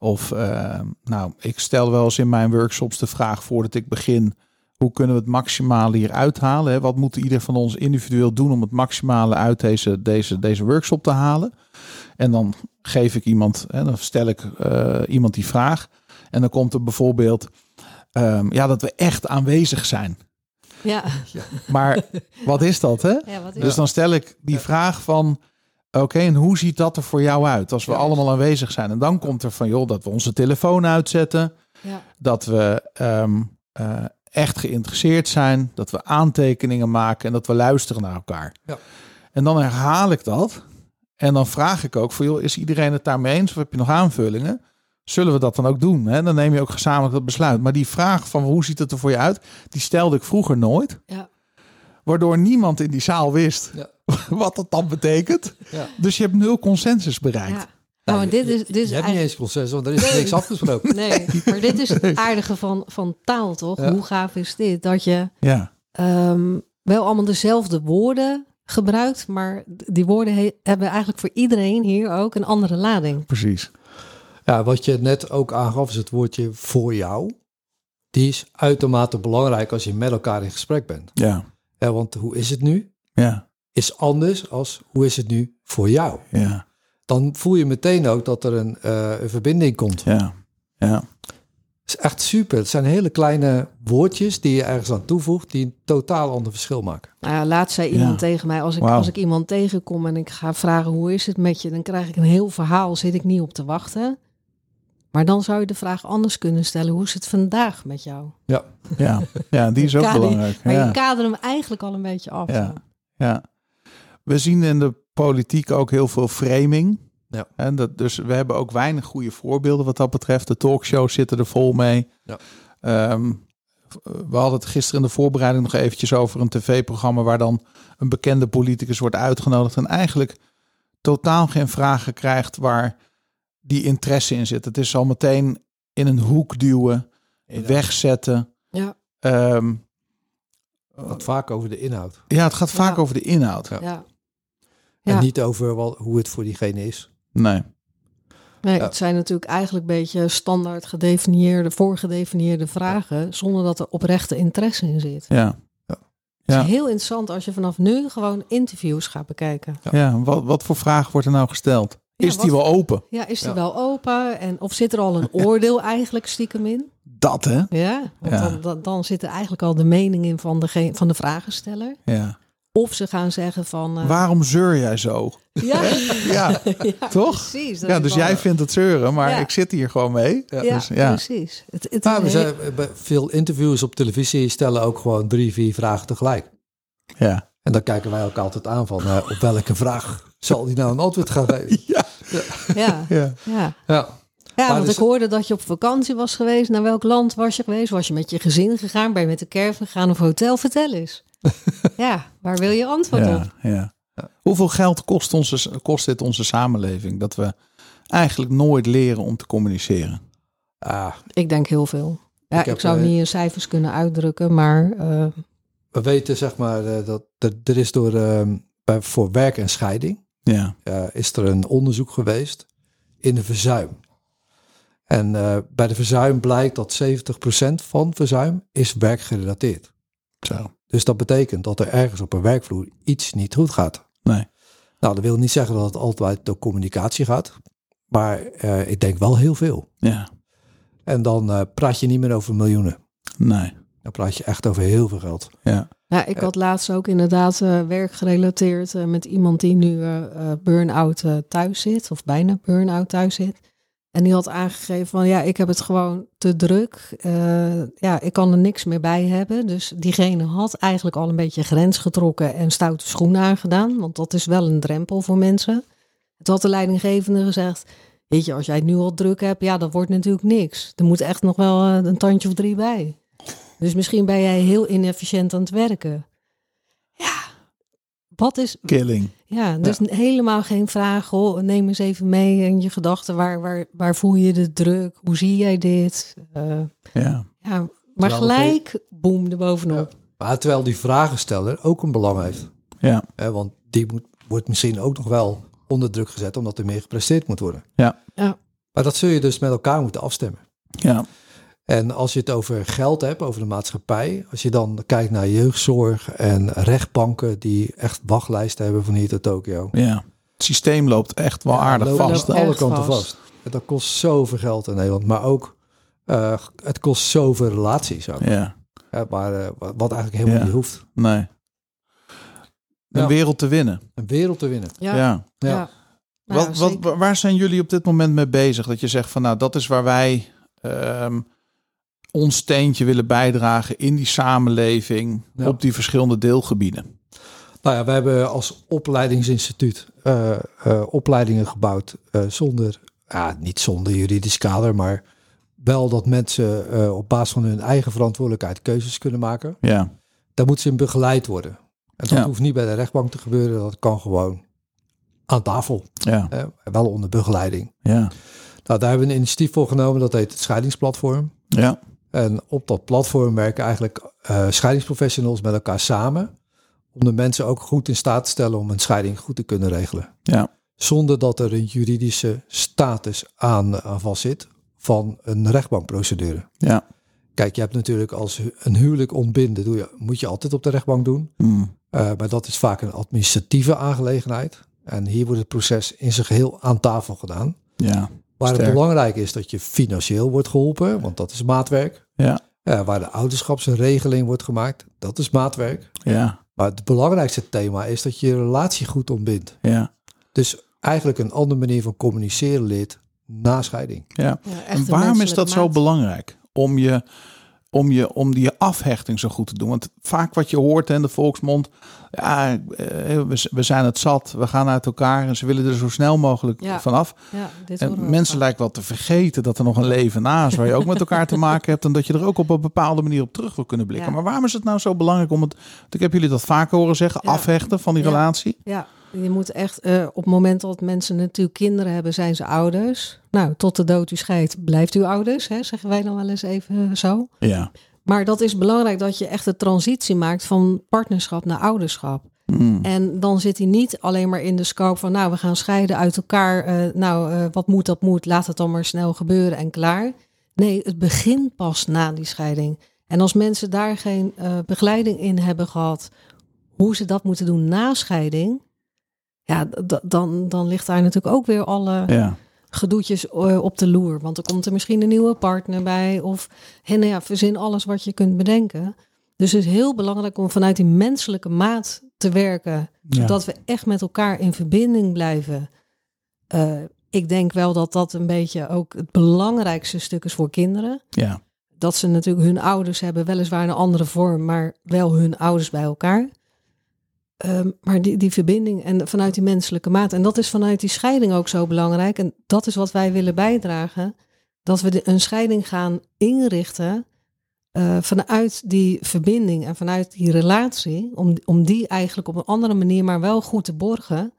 Of eh, nou, ik stel wel eens in mijn workshops de vraag voordat ik begin. Hoe kunnen we het maximale hier uithalen? Hè? Wat moet ieder van ons individueel doen om het maximale uit deze, deze, deze workshop te halen? En dan geef ik iemand, hè, dan stel ik eh, iemand die vraag. En dan komt er bijvoorbeeld ehm, ja, dat we echt aanwezig zijn. Ja. Maar wat is dat, hè? ja, wat is Dus het? dan stel ik die vraag van... Oké, en hoe ziet dat er voor jou uit als we Juist. allemaal aanwezig zijn? En dan komt er van, joh, dat we onze telefoon uitzetten. Ja. Dat we ehm, eh, echt geïnteresseerd zijn. Dat we aantekeningen maken en dat we luisteren naar elkaar. Ja. En dan herhaal ik dat. En dan vraag ik ook van, joh, is iedereen het daarmee eens? Of heb je nog aanvullingen? Zullen we dat dan ook doen? Hè? Dan neem je ook gezamenlijk dat besluit. Maar die vraag van, hoe ziet het er voor je uit? Die stelde ik vroeger nooit. Ja. Waardoor niemand in die zaal wist Ja. wat dat dan betekent. Ja. Dus je hebt nul consensus Ja. bereikt. Nou, maar dit is, dit is Je hebt niet eigenlijk- eens consensus, want er is niks afgesproken. Nee, maar dit is het aardige van, van taal, toch? Ja. Hoe gaaf is dit? Dat je Ja. ehm, wel allemaal dezelfde woorden gebruikt, maar die woorden he- hebben eigenlijk voor iedereen hier ook een andere lading. precies. Ja, wat je net ook aangaf is het woordje voor jou. Die is uitermate belangrijk als je met elkaar in gesprek bent. Ja. Ja, want hoe is het nu? Ja. Is anders als hoe is het nu voor jou? Ja. Dan voel je meteen ook dat er een, eh, een verbinding komt. Ja. Ja. Het is echt super. Het zijn hele kleine woordjes die je ergens aan toevoegt die een totaal ander verschil maken. Nou ja, laatst zei iemand Ja. tegen mij, als ik, Wauw. als ik iemand tegenkom en ik ga vragen hoe is het met je, dan krijg ik een heel verhaal, zit ik niet op te wachten. Maar dan zou je de vraag anders kunnen stellen, hoe is het vandaag met jou? Ja, Ja. Ja. Die is ook Ja, die- belangrijk. Maar Ja. je kader hem eigenlijk al een beetje af. Ja. ja. We zien in de politiek ook heel veel framing. Ja. En dat, dus we hebben ook weinig goede voorbeelden wat dat betreft. De talkshows zitten er vol mee. Ja. Ehm, we hadden het gisteren in de voorbereiding nog eventjes over een tv-programma... waar dan een bekende politicus wordt uitgenodigd... en eigenlijk totaal geen vragen krijgt waar die interesse in zit. Het is al meteen in een hoek duwen, wegzetten. Ja. Ehm, wat vaak over de inhoud. ja, het gaat vaak Ja. over de inhoud. Ja. Ja. En Ja. niet over wel, hoe het voor diegene is. Nee. Nee, Ja. het zijn natuurlijk eigenlijk een beetje standaard gedefinieerde, voorgedefinieerde vragen, zonder dat er oprechte interesse in zit. Ja, Ja. Het is heel interessant als je vanaf nu gewoon interviews gaat bekijken. ja. wat, wat voor vraag wordt er nou gesteld? Ja, is die wat- wel open? Ja, is die Ja. wel open? En of zit er al een oordeel eigenlijk stiekem in? Dat hè? Ja, want Ja. Dan, dan, dan zit er eigenlijk al de mening in van, degene, van de vragensteller. Ja. Of ze gaan zeggen van... eh, Waarom zeur jij zo? ja, Ja, ja, toch? precies. dat Ja, is dus wel- jij vindt het zeuren, maar Ja. ik zit hier gewoon mee. Ja, dus, ja. Ah, dus precies. Het, het Maar we is een zijn, bij veel interviews op televisie stellen ook gewoon drie, vier vragen tegelijk. Ja. En dan kijken wij ook altijd aan van eh, op welke vraag zal die nou een antwoord gaan geven. heel- ja, Ja. ja. Ja, Ja, Maar want dus- ik hoorde dat je op vakantie was geweest. Naar welk land was je geweest? Was je met je gezin gegaan? Ben je met de caravan gegaan of hotel? Vertel eens. ja, waar wil je antwoord op? Ja, ja. Hoeveel geld kost, onze, kost dit onze samenleving? Dat we eigenlijk nooit leren om te communiceren. ah, Ik denk heel veel. Ja, Ik ik, heb, zou eh, niet in cijfers kunnen uitdrukken, maar eh, we weten zeg maar eh, dat er, er is door eh, bij, voor werk en scheiding Ja, eh, is er een onderzoek geweest in de verzuim. En eh, bij de verzuim blijkt dat 70% van verzuim is werkgerelateerd. zo. Dus dat betekent dat er ergens op een werkvloer iets niet goed gaat. Nee. Nou, dat wil niet zeggen dat het altijd door communicatie gaat. Maar eh, ik denk wel heel veel. Ja, En dan eh, praat je niet meer over miljoenen. nee. Dan praat je echt over heel veel geld. Ja, ja, ik had laatst ook inderdaad eh, werkgerelateerd eh, met iemand die nu eh, eh, burn-out eh, thuis zit, of bijna burn-out thuis zit. En die had aangegeven van ja, ik heb het gewoon te druk. Eh, ja, ik kan er niks meer bij hebben. Dus diegene had eigenlijk al een beetje grens getrokken en stoute schoenen aangedaan. Want dat is wel een drempel voor mensen. Het had de leidinggevende gezegd. Weet je, als jij het nu al druk hebt, ja, dat wordt natuurlijk niks. Er moet echt nog wel eh, een tandje of drie bij. Dus misschien ben jij heel inefficiënt aan het werken. Ja, wat is, killing. ja, dus n- helemaal geen vraag. Hoor. Neem eens even mee in je gedachten. Waar, waar, waar voel je de druk? Hoe zie jij dit? Eh, Ja, ja, maar Terwijl het gelijk, boem, erbovenop. Maar terwijl die vragensteller ook een belang heeft. ja, Hè, want die moet, wordt misschien ook nog wel onder druk gezet omdat er meer gepresteerd moet worden. Ja. Ja. Maar dat zul je dus met elkaar moeten afstemmen. ja, En als je het over geld hebt, over de maatschappij, als je dan kijkt naar jeugdzorg en rechtbanken die echt wachtlijsten hebben van hier tot Tokio. ja. Het systeem loopt echt wel Ja, aardig lopen vast. aan hè? loopt- alle Echt kanten vast. vast. En dat kost zoveel geld in Nederland, maar ook eh, het kost zoveel relaties ook. Ja, Hè, maar eh, wat wat eigenlijk helemaal Ja. niet hoeft. nee. Een Ja. wereld te winnen. Een wereld te winnen. Ja. Ja, ja. ja. Nou, wat, zeker. wat, waar zijn jullie op dit moment mee bezig? Dat je zegt van nou, dat is waar wij ehm, ons steentje willen bijdragen in die samenleving Ja. op die verschillende deelgebieden. Nou ja, we hebben als opleidingsinstituut eh, eh, opleidingen gebouwd eh, zonder, ja, niet zonder juridisch kader, maar wel dat mensen eh, op basis van hun eigen verantwoordelijkheid keuzes kunnen maken. Ja, Daar moeten ze in begeleid worden. En dat Ja. hoeft niet bij de rechtbank te gebeuren, dat kan gewoon aan tafel, ja, hè, wel onder begeleiding. ja, Nou, daar hebben we een initiatief voor genomen, dat heet het scheidingsplatform. ja, En op dat platform werken eigenlijk eh, scheidingsprofessionals met elkaar samen. Om de mensen ook goed in staat te stellen om een scheiding goed te kunnen regelen. ja, Zonder dat er een juridische status aan, aan vast zit van een rechtbankprocedure. ja. Kijk, je hebt natuurlijk als hu- een huwelijk ontbinden, doe je, moet je altijd op de rechtbank doen. Hmm, Eh, maar dat is vaak een administratieve aangelegenheid. En hier wordt het proces in zijn geheel aan tafel gedaan. ja, Waar het Sterk. belangrijk is dat je financieel wordt geholpen, want dat is maatwerk. ja, Eh, waar de ouderschapsregeling wordt gemaakt, dat is maatwerk. ja, Maar het belangrijkste thema is dat je je relatie goed ontbindt. ja, Dus eigenlijk een andere manier van communiceren leert na scheiding. ja. Ja, echt En een waarom is menselijke dat zo maat. belangrijk? Om je, om je, om die afhechting zo goed te doen. Want vaak wat je hoort in de volksmond, ja, eh, we, z- we zijn het zat, we gaan uit elkaar en ze willen er zo snel mogelijk Ja. vanaf. Ja, dit horen En we mensen vaak. lijken wel te vergeten dat er nog een leven naast waar je ook met elkaar te maken hebt en dat je er ook op een bepaalde manier op terug wil kunnen blikken. Ja. Maar waarom is het nou zo belangrijk om het, want ik heb jullie dat vaker horen zeggen, Ja. afhechten van die Ja. relatie? Ja, je moet echt eh, op het moment dat mensen natuurlijk kinderen hebben, zijn ze ouders. Nou, tot de dood u scheidt, blijft u ouders, hè, zeggen wij dan wel eens even eh, zo. Ja. Maar dat is belangrijk dat je echt de transitie maakt van partnerschap naar ouderschap. Hmm. En dan zit hij niet alleen maar in de scope van, nou, we gaan scheiden uit elkaar. eh, nou, eh, wat moet, dat moet. Laat het dan maar snel gebeuren en klaar. Nee, het begint pas na die scheiding. En als mensen daar geen eh, begeleiding in hebben gehad, hoe ze dat moeten doen na scheiding, ja, d- d- dan, dan ligt daar natuurlijk ook weer alle Ja. gedoetjes eh, op de loer. Want er komt er misschien een nieuwe partner bij. Of hè, nou ja, verzin alles wat je kunt bedenken. Dus het is heel belangrijk om vanuit die menselijke maat te werken. Ja. Zodat we echt met elkaar in verbinding blijven. Eh, ik denk wel dat dat een beetje ook het belangrijkste stuk is voor kinderen. Ja. Dat ze natuurlijk hun ouders hebben, weliswaar in een andere vorm, maar wel hun ouders bij elkaar. Ehm, maar die, die verbinding en vanuit die menselijke maat. En dat is vanuit die scheiding ook zo belangrijk. En dat is wat wij willen bijdragen. Dat we de, een scheiding gaan inrichten eh, vanuit die verbinding en vanuit die relatie. Om, om die eigenlijk op een andere manier, maar wel goed te borgen.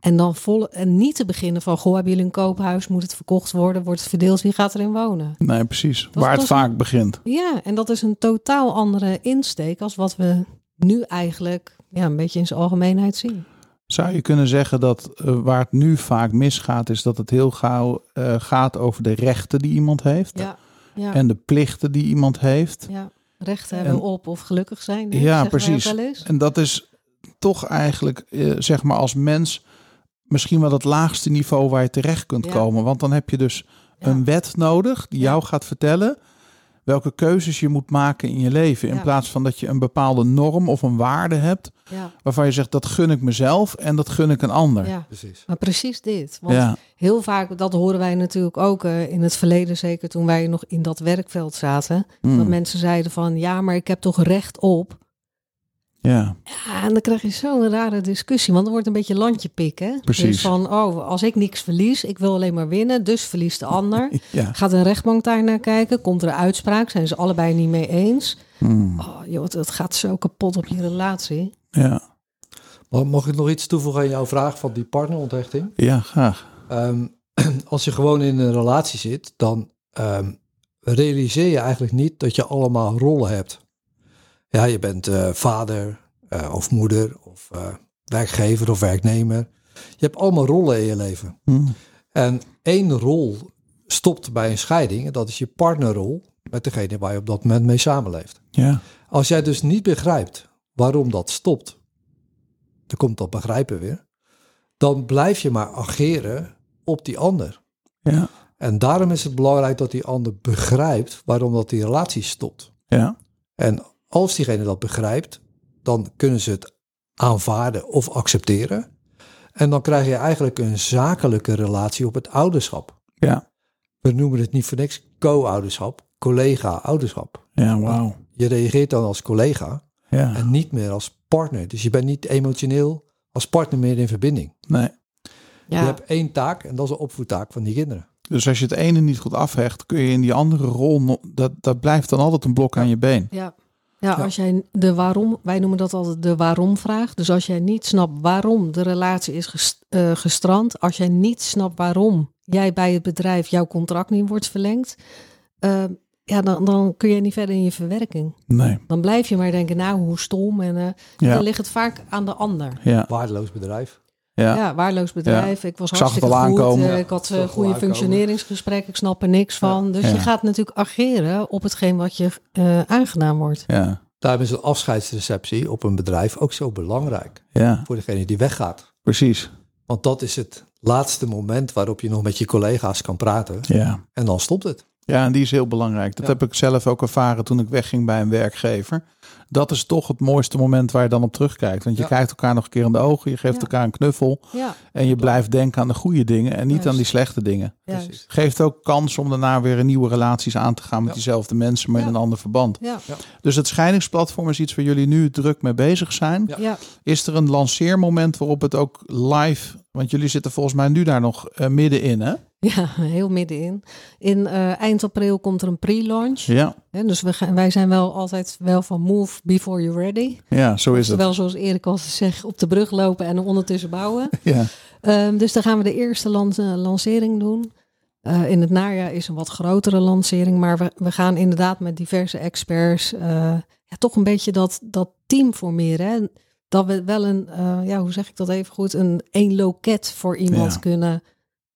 En dan vol, en niet te beginnen van, goh, hebben jullie een koophuis? Moet het verkocht worden? Wordt het verdeeld? Wie gaat erin wonen? Nee, precies. Waar het was- vaak begint. Ja, en dat is een totaal andere insteek als wat we nu eigenlijk ja, een beetje in zijn algemeenheid zien. Zou je kunnen zeggen dat eh, waar het nu vaak misgaat, is dat het heel gauw eh, gaat over de rechten die iemand heeft Ja, ja, en de plichten die iemand heeft? ja. recht en- hebben op of gelukkig zijn. hè, Ja, zeggen wij precies. ook wel eens. En dat is toch eigenlijk, eh, zeg maar, als mens misschien wel het laagste niveau waar je terecht kunt Ja. komen. Want dan heb je dus Ja. een wet nodig die Ja. jou gaat vertellen welke keuzes je moet maken in je leven. In Ja. plaats van dat je een bepaalde norm of een waarde hebt Ja, waarvan je zegt dat gun ik mezelf en dat gun ik een ander. ja, Precies. maar precies dit. Want Ja, heel vaak, dat horen wij natuurlijk ook eh, in het verleden, zeker toen wij nog in dat werkveld zaten. Dat Mm. mensen zeiden van, ja, maar ik heb toch recht op. ja, Ja, en dan krijg je zo'n rare discussie, want dan wordt een beetje landje pikken. hè. Precies. Dus van, oh, als ik niks verlies, ik wil alleen maar winnen, dus verliest de ander. ja. Gaat een rechtbank daar naar kijken? Komt er een uitspraak? Zijn ze allebei niet mee eens? Mm. Oh, joh, het, het gaat zo kapot op je relatie. ja, Maar mag ik nog iets toevoegen aan jouw vraag van die partneronthechting? ja, graag. Ehm, als je gewoon in een relatie zit, dan ehm, realiseer je eigenlijk niet dat je allemaal rollen hebt. Ja, je bent eh, vader eh, of moeder of eh, werkgever of werknemer. Je hebt allemaal rollen in je leven. Mm. En één rol stopt bij een scheiding. En dat is je partnerrol met degene waar je op dat moment mee samenleeft. Ja, Als jij dus niet begrijpt waarom dat stopt. Dan komt dat begrijpen weer. Dan blijf je maar ageren op die ander. ja, En daarom is het belangrijk dat die ander begrijpt waarom dat die relatie stopt. Ja. En als diegene dat begrijpt, dan kunnen ze het aanvaarden of accepteren. En dan krijg je eigenlijk een zakelijke relatie op het ouderschap. Ja. We noemen het niet voor niks co-ouderschap, collega-ouderschap. Ja, wauw. Je reageert dan als collega Ja. en niet meer als partner. Dus je bent niet emotioneel als partner meer in verbinding. Nee. Ja. Je hebt één taak en dat is de opvoedtaak van die kinderen. Dus als je het ene niet goed afhecht, kun je in die andere rol, no- dat, dat blijft dan altijd een blok aan je been. Ja. Ja, Ja. als jij de waarom, wij noemen dat altijd de waarom-vraag. Dus als jij niet snapt waarom de relatie is ges- eh, gestrand, als jij niet snapt waarom jij bij het bedrijf jouw contract niet wordt verlengd, eh, ja, dan, dan kun je niet verder in je verwerking. Nee. Dan blijf je maar denken, nou, hoe stom. En eh, dan Ja. ligt het vaak aan de ander. Ja. Waardeloos bedrijf. Ja. Ja, waardeloos bedrijf. Ik was Ik zag het hartstikke al goed. aankomen. eh, ik had eh, zag het al goede aankomen. functioneringsgesprekken. Ik snap er niks van. Dus Ja. je gaat natuurlijk ageren op hetgeen wat je eh, aangedaan wordt. Ja. Daarom is een afscheidsreceptie op een bedrijf ook zo belangrijk Ja. voor degene die weggaat. Precies. Want dat is het laatste moment waarop je nog met je collega's kan praten. Ja. En dan stopt het. Ja, en die is heel belangrijk. Dat Ja. heb ik zelf ook ervaren toen ik wegging bij een werkgever. Dat is toch het mooiste moment waar je dan op terugkijkt. Want je Ja. kijkt elkaar nog een keer in de ogen, je geeft Ja. elkaar een knuffel Ja, en je blijft denken aan de goede dingen en niet Juist. aan die slechte dingen. juist. Geeft ook kans om daarna weer nieuwe relaties aan te gaan met Ja. diezelfde mensen, maar in Ja. een ander verband. Ja, Dus het scheidingsplatform is iets waar jullie nu druk mee bezig zijn. Ja. ja, Is er een lanceermoment waarop het ook live, want jullie zitten volgens mij nu daar nog eh, middenin, hè? ja, heel middenin. In eh, eind april komt er een pre-launch. Ja, Hè, Dus we gaan, wij zijn wel altijd wel van move before you're ready. ja zo is het. Terwijl zoals Erik al zegt, op de brug lopen en ondertussen bouwen. Ja. Ehm, dus dan gaan we de eerste lan- eh, lancering doen. Eh, in het najaar is een wat grotere lancering, maar we, we gaan inderdaad met diverse experts eh, ja, toch een beetje dat, dat team formeren. Hè? Dat we wel een, eh, ja, hoe zeg ik dat even goed, een één loket voor iemand Ja. kunnen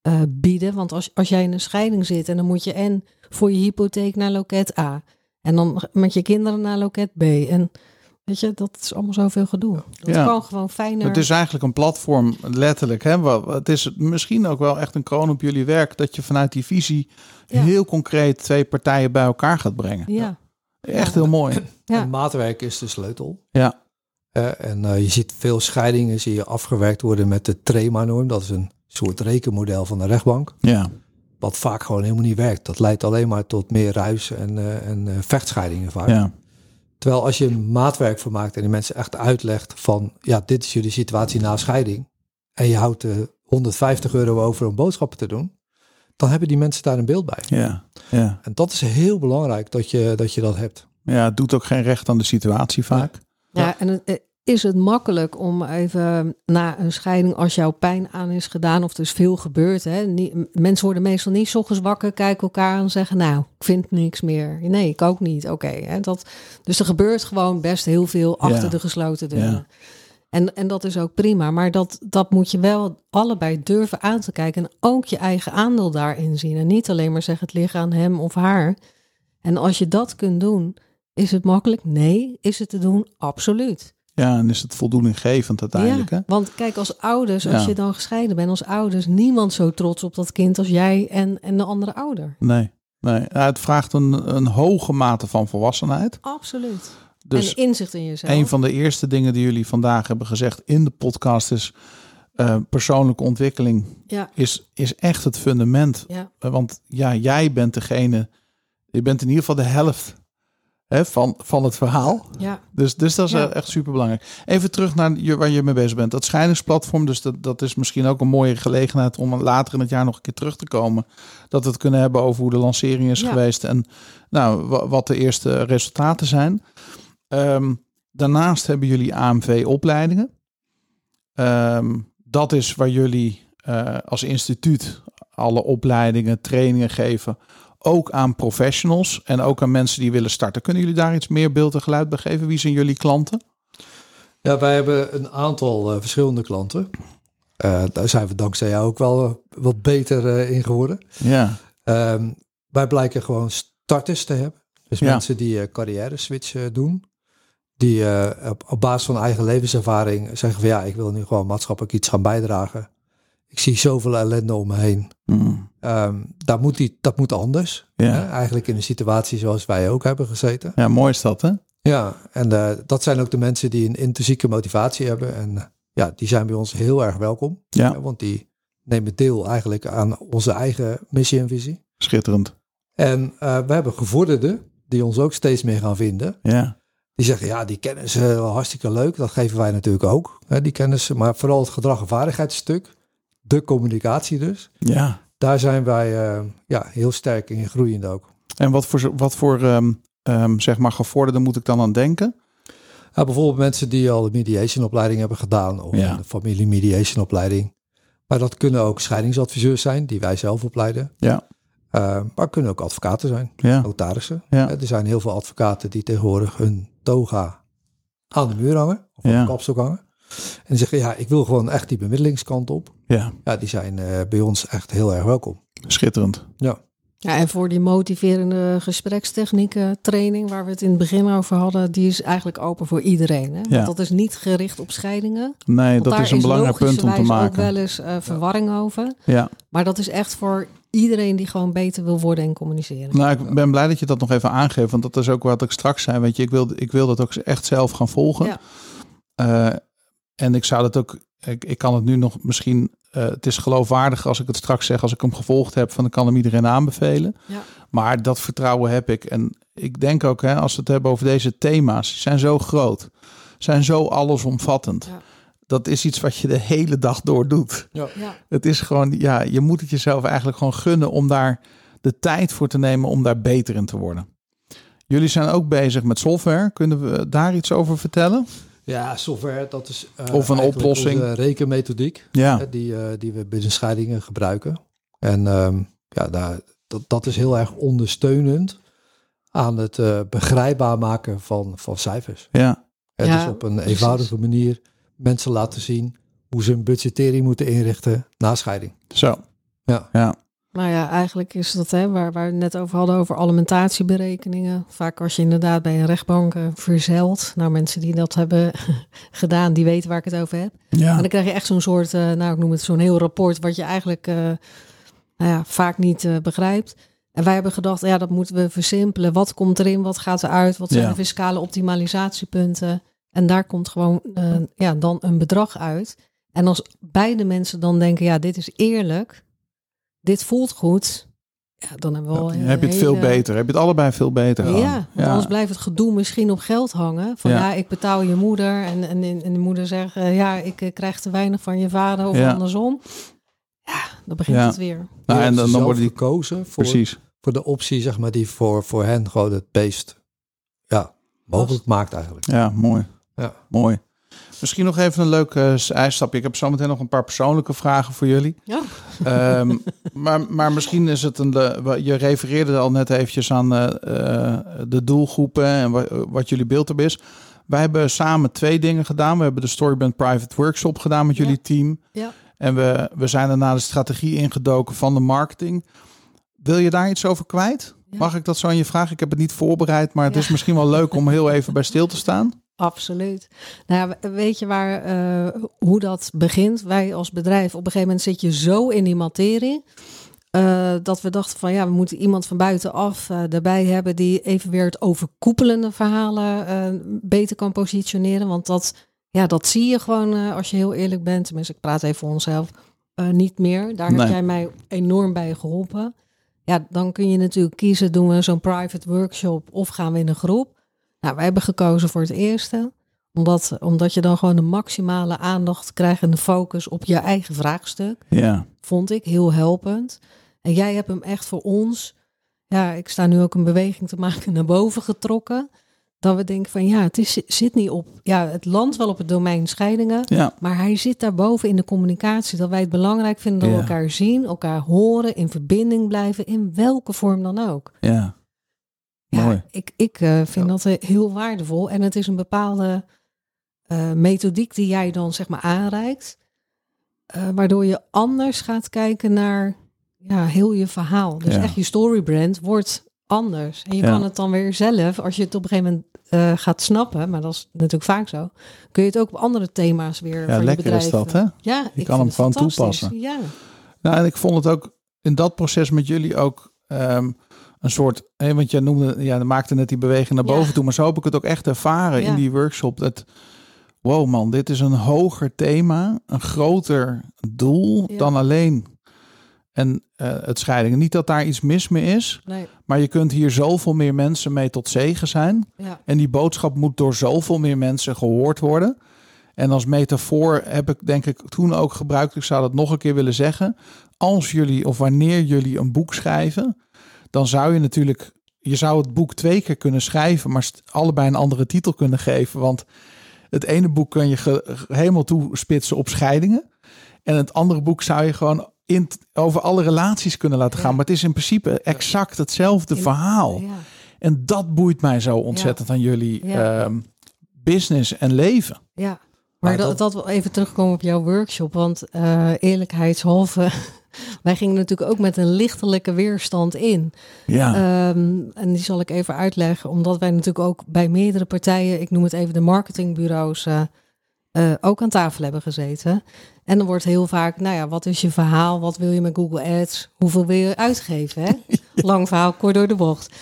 eh, bieden. Want als, als jij in een scheiding zit en dan moet je en voor je hypotheek naar loket A en dan met je kinderen naar loket B. En weet je, dat is allemaal zoveel gedoe. Dat Ja. kan gewoon fijner. Het is eigenlijk een platform, letterlijk. Hè? Wa- Het is misschien ook wel echt een kroon op jullie werk dat je vanuit die visie Ja. heel concreet twee partijen bij elkaar gaat brengen. ja. Echt heel mooi. Ja. En maatwerk is de sleutel. Ja, Eh, en eh, je ziet veel scheidingen zie je afgewerkt worden met de TREMA-norm. Dat is een soort rekenmodel van de rechtbank. ja, Wat vaak gewoon helemaal niet werkt. Dat leidt alleen maar tot meer ruis en, eh, en eh, vechtscheidingen vaak. ja. Terwijl als je er maatwerk van maakt en die mensen echt uitlegt van... ja, dit is jullie situatie na scheiding... en je houdt eh 150 euro over om boodschappen te doen... dan hebben die mensen daar een beeld bij. ja, ja. En dat is heel belangrijk dat je dat, je dat hebt. ja het doet ook geen recht aan de situatie vaak. Ja, en het, eh, is het makkelijk om even na een scheiding, als jouw pijn aan is gedaan of er is veel gebeurd. Hè? Niet, m- mensen worden meestal niet 's ochtends wakker, kijken elkaar aan en zeggen, nou, ik vind niks meer. Nee, ik ook niet. Oké. hè, dat, dus er gebeurt gewoon best heel veel achter Ja. de gesloten deuren. Ja. En, en dat is ook prima, maar dat, dat moet je wel allebei durven aan te kijken en ook je eigen aandeel daarin zien. En niet alleen maar zeggen het ligt aan hem of haar. En als je dat kunt doen, is het makkelijk? Nee. Is het te doen? Absoluut. Ja, en is het voldoeninggevend uiteindelijk. Ja, Hè? want kijk, als ouders, als Ja. je dan gescheiden bent, als ouders, niemand zo trots op dat kind als jij en, en de andere ouder. Nee, nee. Ja, het vraagt een, een hoge mate van volwassenheid. Absoluut. Dus en inzicht in jezelf. Een van de eerste dingen die jullie vandaag hebben gezegd in de podcast is eh, persoonlijke ontwikkeling ja, is, is echt het fundament. ja, Eh, Want ja, jij bent degene, je bent in ieder geval de helft hè, van, van het verhaal. ja, Dus, dus dat is Ja. eh, echt superbelangrijk. Even terug naar je, waar je mee bezig bent. Dat scheidingsplatform, dus dat, dat is misschien ook een mooie gelegenheid om later in het jaar nog een keer terug te komen. Dat we het kunnen hebben over hoe de lancering is Ja. geweest en nou, wa- wat de eerste resultaten zijn. Ehm, daarnaast hebben jullie AMV-opleidingen. Ehm, dat is waar jullie eh, als instituut alle opleidingen, trainingen geven. Ook aan professionals en ook aan mensen die willen starten. Kunnen jullie daar iets meer beeld en geluid bij geven? Wie zijn jullie klanten? Ja, wij hebben een aantal eh, verschillende klanten. Eh, daar zijn we dankzij jou ook wel eh, wat beter eh, in geworden. Ja, Ehm, wij blijken gewoon starters te hebben. Dus Ja. mensen die eh, carrière switch eh, doen. Die eh, op, op basis van eigen levenservaring zeggen van ja, ik wil nu gewoon maatschappelijk iets gaan bijdragen. Ik zie zoveel ellende om me heen. Mm. Ehm, daar moet die, dat moet anders. Ja. Hè? Eigenlijk in een situatie zoals wij ook hebben gezeten. ja, mooi is dat, hè? Ja, en eh, dat zijn ook de mensen die een intrinsieke motivatie hebben. En eh, ja, die zijn bij ons heel erg welkom. Ja. Hè, want die nemen deel eigenlijk aan onze eigen missie en visie. Schitterend. En eh, we hebben gevorderden die ons ook steeds meer gaan vinden. Ja, Die zeggen, ja, die kennis is wel hartstikke leuk. Dat geven wij natuurlijk ook, hè, die kennis. Maar vooral het gedrag en vaardigheidsstuk, de communicatie dus. ja. Daar zijn wij eh, ja, heel sterk in groeiend ook. En wat voor, wat voor ehm, ehm, zeg maar gevorderden moet ik dan aan denken? Nou, bijvoorbeeld mensen die al de mediation opleiding hebben gedaan of Ja. de familie mediation opleiding. Maar dat kunnen ook scheidingsadviseurs zijn, die wij zelf opleiden. Ja. Eh, maar het kunnen ook advocaten zijn, Ja, notarissen. Ja. Eh, Er zijn heel veel advocaten die tegenwoordig hun toga aan de muur hangen of op Ja. de kapstok hangen. En die zeggen, ja, ik wil gewoon echt die bemiddelingskant op. ja. Ja, die zijn eh, bij ons echt heel erg welkom. schitterend. Ja, Ja, en voor die motiverende gesprekstechnieken training waar we het in het begin over hadden, die is eigenlijk open voor iedereen. Hè? Want Ja. dat is niet gericht op scheidingen. Nee, Want dat daar is een belangrijk punt om te logischerwijs ook maken. wel eens eh, verwarring over. Ja. Maar dat is echt voor iedereen die gewoon beter wil worden en communiceren. Nou, ik ben blij dat je dat nog even aangeeft, want dat is ook wat ik straks zei. Weet je, ik wil, ik wil dat ook echt zelf gaan volgen. Ja. Eh, en ik zou dat ook, ik, ik kan het nu nog misschien, eh, het is geloofwaardig als ik het straks zeg, als ik hem gevolgd heb, van ik kan hem iedereen aanbevelen. Ja. Maar dat vertrouwen heb ik. En ik denk ook, hè, als we het hebben over deze thema's, die zijn zo groot, zijn zo allesomvattend. Ja. Dat is iets wat je de hele dag door doet. Ja. Het is gewoon, ja, je moet het jezelf eigenlijk gewoon gunnen om daar de tijd voor te nemen om daar beter in te worden. Jullie zijn ook bezig met software. Kunnen we daar iets over vertellen? ja software, dat is eh, Of een eigenlijk oplossing. onze rekenmethodiek. Ja, Hè, die, eh, die we binnen scheidingen gebruiken. En ehm, ja, daar, dat, dat is heel erg ondersteunend aan het eh, begrijpbaar maken van, van cijfers. ja, En Ja, dus op een precies. eenvoudige manier mensen laten zien hoe ze hun budgettering moeten inrichten na scheiding. zo. Ja. ja. Nou ja, eigenlijk is dat hè, waar, waar we het net over hadden, over alimentatieberekeningen. Vaak als je inderdaad bij een rechtbank eh, verzeilt. Nou, mensen die dat hebben gedaan, die weten waar ik het over heb. En ja. dan krijg je echt zo'n soort, eh, nou ik noem het zo'n heel rapport, wat je eigenlijk eh, nou ja, vaak niet eh, begrijpt. En wij hebben gedacht, ja, dat moeten we versimpelen. Wat komt erin, wat gaat eruit, wat zijn Ja. de fiscale optimalisatiepunten? En daar komt gewoon eh, ja, dan een bedrag uit. En als beide mensen dan denken, ja, dit is eerlijk, dit voelt goed, ja, dan hebben we al een heb je het veel hele- beter? Heb je het allebei veel beter? ja, gewoon? want anders blijft het gedoe misschien op geld hangen. Van Ja. ja, ik betaal je moeder. En, en, en en de moeder zegt, eh, ja, ik eh, krijg te weinig van je vader of Ja. andersom. Ja, dan begint Ja. het weer. nou, Je en hebt dan, zelf dan worden die. gekozen voor, Precies. voor de optie zeg maar, die voor, voor hen gewoon het beest ja, mogelijk maakt eigenlijk. Ja, mooi. Ja. Mooi. Misschien nog even een leuk eh, zijstapje. Ik heb zometeen nog een paar persoonlijke vragen voor jullie. Ja. Ehm, maar, maar misschien is het een. le- Je refereerde al net eventjes aan eh, eh, de doelgroepen en wat, wat jullie beeld erop is. Wij hebben samen twee dingen gedaan. We hebben de Storybrand Private Workshop gedaan met jullie Ja. team. Ja. En we, we zijn daarna de strategie ingedoken van de marketing. Wil je daar iets over kwijt? Ja. Mag ik dat zo aan je vragen? Ik heb het niet voorbereid, maar het Ja. is misschien wel leuk om heel even bij stil te staan. Absoluut. Nou, ja, we- weet je waar, eh, hoe dat begint? Wij als bedrijf, op een gegeven moment zit je zo in die materie. eh, dat we dachten van ja, we moeten iemand van buitenaf eh erbij hebben die even weer het overkoepelende verhalen eh, beter kan positioneren. Want dat, ja, dat zie je gewoon eh, als je heel eerlijk bent. Tenminste, ik praat even voor onszelf. eh, niet meer. Daar Nee. heb jij mij enorm bij geholpen. Ja, dan kun je natuurlijk kiezen, doen we zo'n private workshop of gaan we in een groep. Nou, wij hebben gekozen voor het eerste. Omdat, omdat je dan gewoon de maximale aandacht krijgt en de focus op je eigen vraagstuk. Ja, Vond ik heel helpend. En jij hebt hem echt voor ons. Ja, ik sta nu ook een beweging te maken naar boven getrokken. Dat we denken van ja, het is, zit niet op. Ja, het landt wel op het domein scheidingen. ja, Maar hij zit daarboven in de communicatie. Dat wij het belangrijk vinden dat we Ja. elkaar zien, elkaar horen, in verbinding blijven, in welke vorm dan ook. ja. Ja, Mooi. ik, ik eh, vind dat eh, heel waardevol. En het is een bepaalde eh, methodiek die jij dan zeg maar aanreikt. eh, waardoor je anders gaat kijken naar ja, heel je verhaal. Dus Ja. echt je storybrand wordt anders. En je Ja. kan het dan weer zelf, als je het op een gegeven moment eh, gaat snappen, maar dat is natuurlijk vaak zo, kun je het ook op andere thema's weer. voor Ja, je lekker is bedrijf, dat, eh, hè? Ja, ik hem vind het gewoon fantastisch. toepassen. Ja, Nou, en ik vond het ook in dat proces met jullie ook ehm, een soort. Hè, want jij noemde, ja, maakte net die beweging naar Ja. boven toe. Maar zo heb ik het ook echt ervaren Ja. in die workshop. Dat, wow man, dit is een hoger thema, een groter doel Ja. dan alleen. En eh, het scheidingen. Niet dat daar iets mis mee is, nee, maar je kunt hier zoveel meer mensen mee tot zegen zijn. ja, En die boodschap moet door zoveel meer mensen gehoord worden. En als metafoor heb ik denk ik toen ook gebruikt, ik zou dat nog een keer willen zeggen. Als jullie of wanneer jullie een boek schrijven, dan zou je natuurlijk, je zou het boek twee keer kunnen schrijven, maar st- allebei een andere titel kunnen geven. Want het ene boek kun je ge- ge- helemaal toespitsen op scheidingen. En het andere boek zou je gewoon in, over alle relaties kunnen laten gaan. Ja. Maar het is in principe exact hetzelfde In- verhaal. ja. En dat boeit mij zo ontzettend aan jullie Ja. ehm, business en leven. Ja, maar Maar dat, dat- dat wil even terugkomen op jouw workshop. Want eh, eerlijkheidshalve, wij gingen natuurlijk ook met een lichtelijke weerstand in. Ja, Ehm, en die zal ik even uitleggen. Omdat wij natuurlijk ook bij meerdere partijen, ik noem het even de marketingbureaus, eh, eh, ook aan tafel hebben gezeten. En dan wordt heel vaak, nou ja, wat is je verhaal? Wat wil je met Google Ads? Hoeveel wil je uitgeven? Hè? Lang verhaal, kort door de bocht.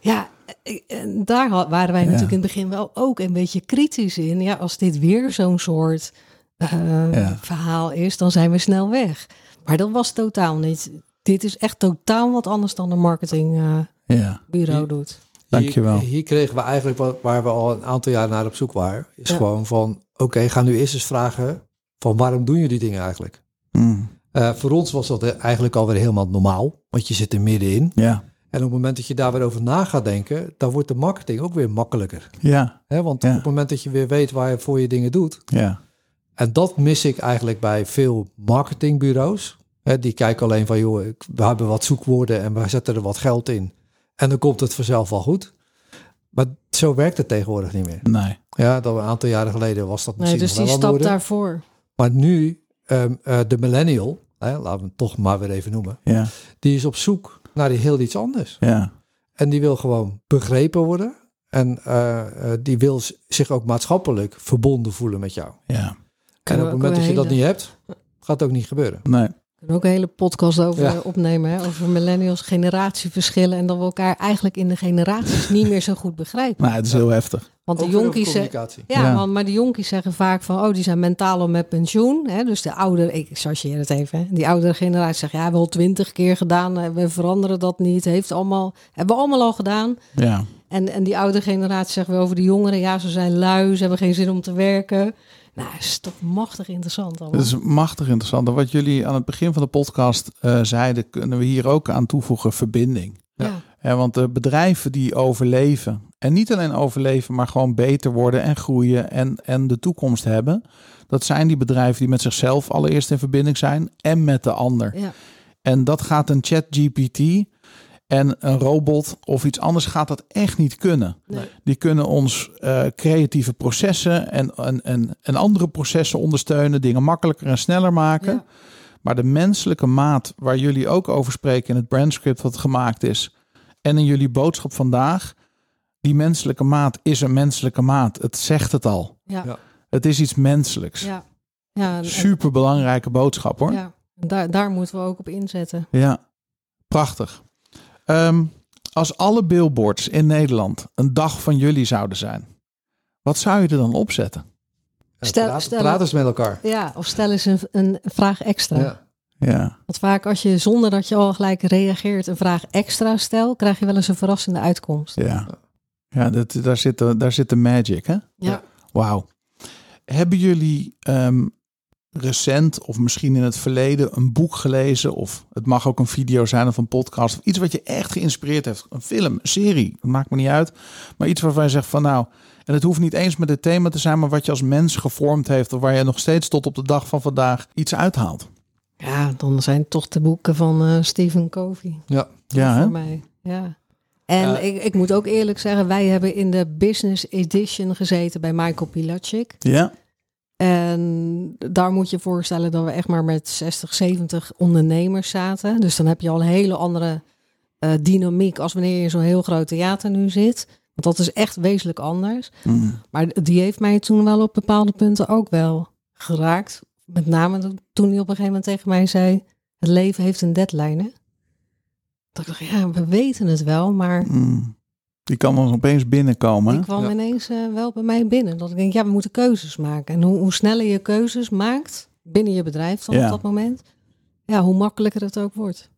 Ja, eh, eh, daar ha- waren wij Ja. natuurlijk in het begin wel ook een beetje kritisch in. Ja, als dit weer zo'n soort eh, Ja. verhaal is, dan zijn we snel weg. Maar dat was totaal niet. Dit is echt totaal wat anders dan een marketingbureau ja. bureau doet. Dankjewel. Hier, hier kregen we eigenlijk wat waar we al een aantal jaar naar op zoek waren. Is Ja. gewoon van, oké, ga nu eerst eens vragen van waarom doen jullie dingen eigenlijk? Mm, Eh, voor ons was dat eigenlijk alweer helemaal normaal, want je zit er middenin. ja, En op het moment dat je daar weer over na gaat denken, dan wordt de marketing ook weer makkelijker. ja, Hè? Want Ja. op het moment dat je weer weet waar je voor je dingen doet, ja. En dat mis ik eigenlijk bij veel marketingbureaus. Hè, die kijken alleen van, joh, ik- we hebben wat zoekwoorden en we zetten er wat geld in. En dan komt het vanzelf wel goed. Maar zo werkt het tegenwoordig niet meer. Nee. Ja, dat een aantal jaren geleden was dat Nee, misschien dus die nog wel aan stap de orde. daarvoor. Maar nu, ehm, eh, de millennial, hè, laten we hem toch maar weer even noemen. Ja, Die is op zoek naar heel iets anders. ja, En die wil gewoon begrepen worden. En eh, eh, die wil z- zich ook maatschappelijk verbonden voelen met jou. ja. En op Kunnen het we moment ook dat je een dat hele- niet hebt, gaat het ook niet gebeuren. Nee. We kunnen ook een hele podcast over Ja. eh, opnemen. Hè? Over millennials, generatieverschillen. En dat we elkaar eigenlijk in de generaties niet meer zo goed begrijpen. Maar het is heel heftig. Want de Ook weer over jonkies... ze- communicatie. Ja, Ja. Want, maar de jonkies zeggen vaak van... Oh, die zijn mentaal al met pensioen. Hè? Dus de oudere... Ik chargeer het even. Hè? Die oudere generatie zegt... Ja, we hebben al twintig keer gedaan. eh, We veranderen dat niet. Heeft allemaal, hebben we allemaal al gedaan. Ja, En, en die oude generatie zegt wel over de jongeren... Ja, ze zijn lui. Ze hebben geen zin om te werken. Nou, is toch machtig interessant allemaal. het is machtig interessant. En wat jullie aan het begin van de podcast eh, zeiden, kunnen we hier ook aan toevoegen verbinding. ja. Hè, want de bedrijven die overleven, en niet alleen overleven, maar gewoon beter worden en groeien en, en de toekomst hebben, dat zijn die bedrijven die met zichzelf allereerst in verbinding zijn en met de ander. ja. En dat gaat een chat GPT en een robot of iets anders gaat dat echt niet kunnen. Nee. Die kunnen ons eh, creatieve processen en, en, en, en andere processen ondersteunen, dingen makkelijker en sneller maken. Ja. Maar de menselijke maat waar jullie ook over spreken in het brandscript wat gemaakt is en in jullie boodschap vandaag, die menselijke maat is een menselijke maat. Het zegt het al. Ja. Ja. Het is iets menselijks. Ja, ja, en- Super belangrijke boodschap hoor. ja. Daar, daar moeten we ook op inzetten. Ja, prachtig. Ehm, als alle billboards in Nederland een dag van jullie zouden zijn, wat zou je er dan opzetten? Ja, Stel- praat, stel- praat eens met elkaar. Ja, of stel eens een, een vraag extra. Ja. Ja, Want vaak als je zonder dat je al gelijk reageert een vraag extra stelt, krijg je wel eens een verrassende uitkomst. ja. ja dat, daar, zit de, daar zit de magic, hè? Ja. Wauw. Hebben jullie ehm, recent of misschien in het verleden een boek gelezen? Of het mag ook een video zijn of een podcast. Of iets wat je echt geïnspireerd heeft. Een film, een serie, dat maakt me niet uit. Maar iets waarvan je zegt van nou... En het hoeft niet eens met het thema te zijn, maar wat je als mens gevormd heeft. Of waar je nog steeds tot op de dag van vandaag iets uithaalt. Ja, dan zijn het toch de boeken van eh, Stephen Covey Ja. Ja, hè? Eh, voor mij. Ja. En Ja. ik, ik moet ook eerlijk zeggen, wij hebben in de Business Edition gezeten bij Michael Pilacic. Ja, En daar moet je voorstellen dat we echt maar met 60, 70 ondernemers zaten. Dus dan heb je al een hele andere eh, eh, dynamiek als wanneer je in zo'n heel groot theater nu zit. Want dat is echt wezenlijk anders. Mm. Maar die heeft mij toen wel op bepaalde punten ook wel geraakt. Met name toen hij op een gegeven moment tegen mij zei: Het leven heeft een deadline. Hè? Dat ik dacht, ja, we weten het wel, maar Mm. Die kan dan opeens binnenkomen. die hè? kwam Ja. ineens eh, wel bij mij binnen. Dat ik denk, ja, we moeten keuzes maken. En hoe, hoe sneller je keuzes maakt binnen je bedrijf dan Ja. op dat moment, ja, hoe makkelijker het ook wordt.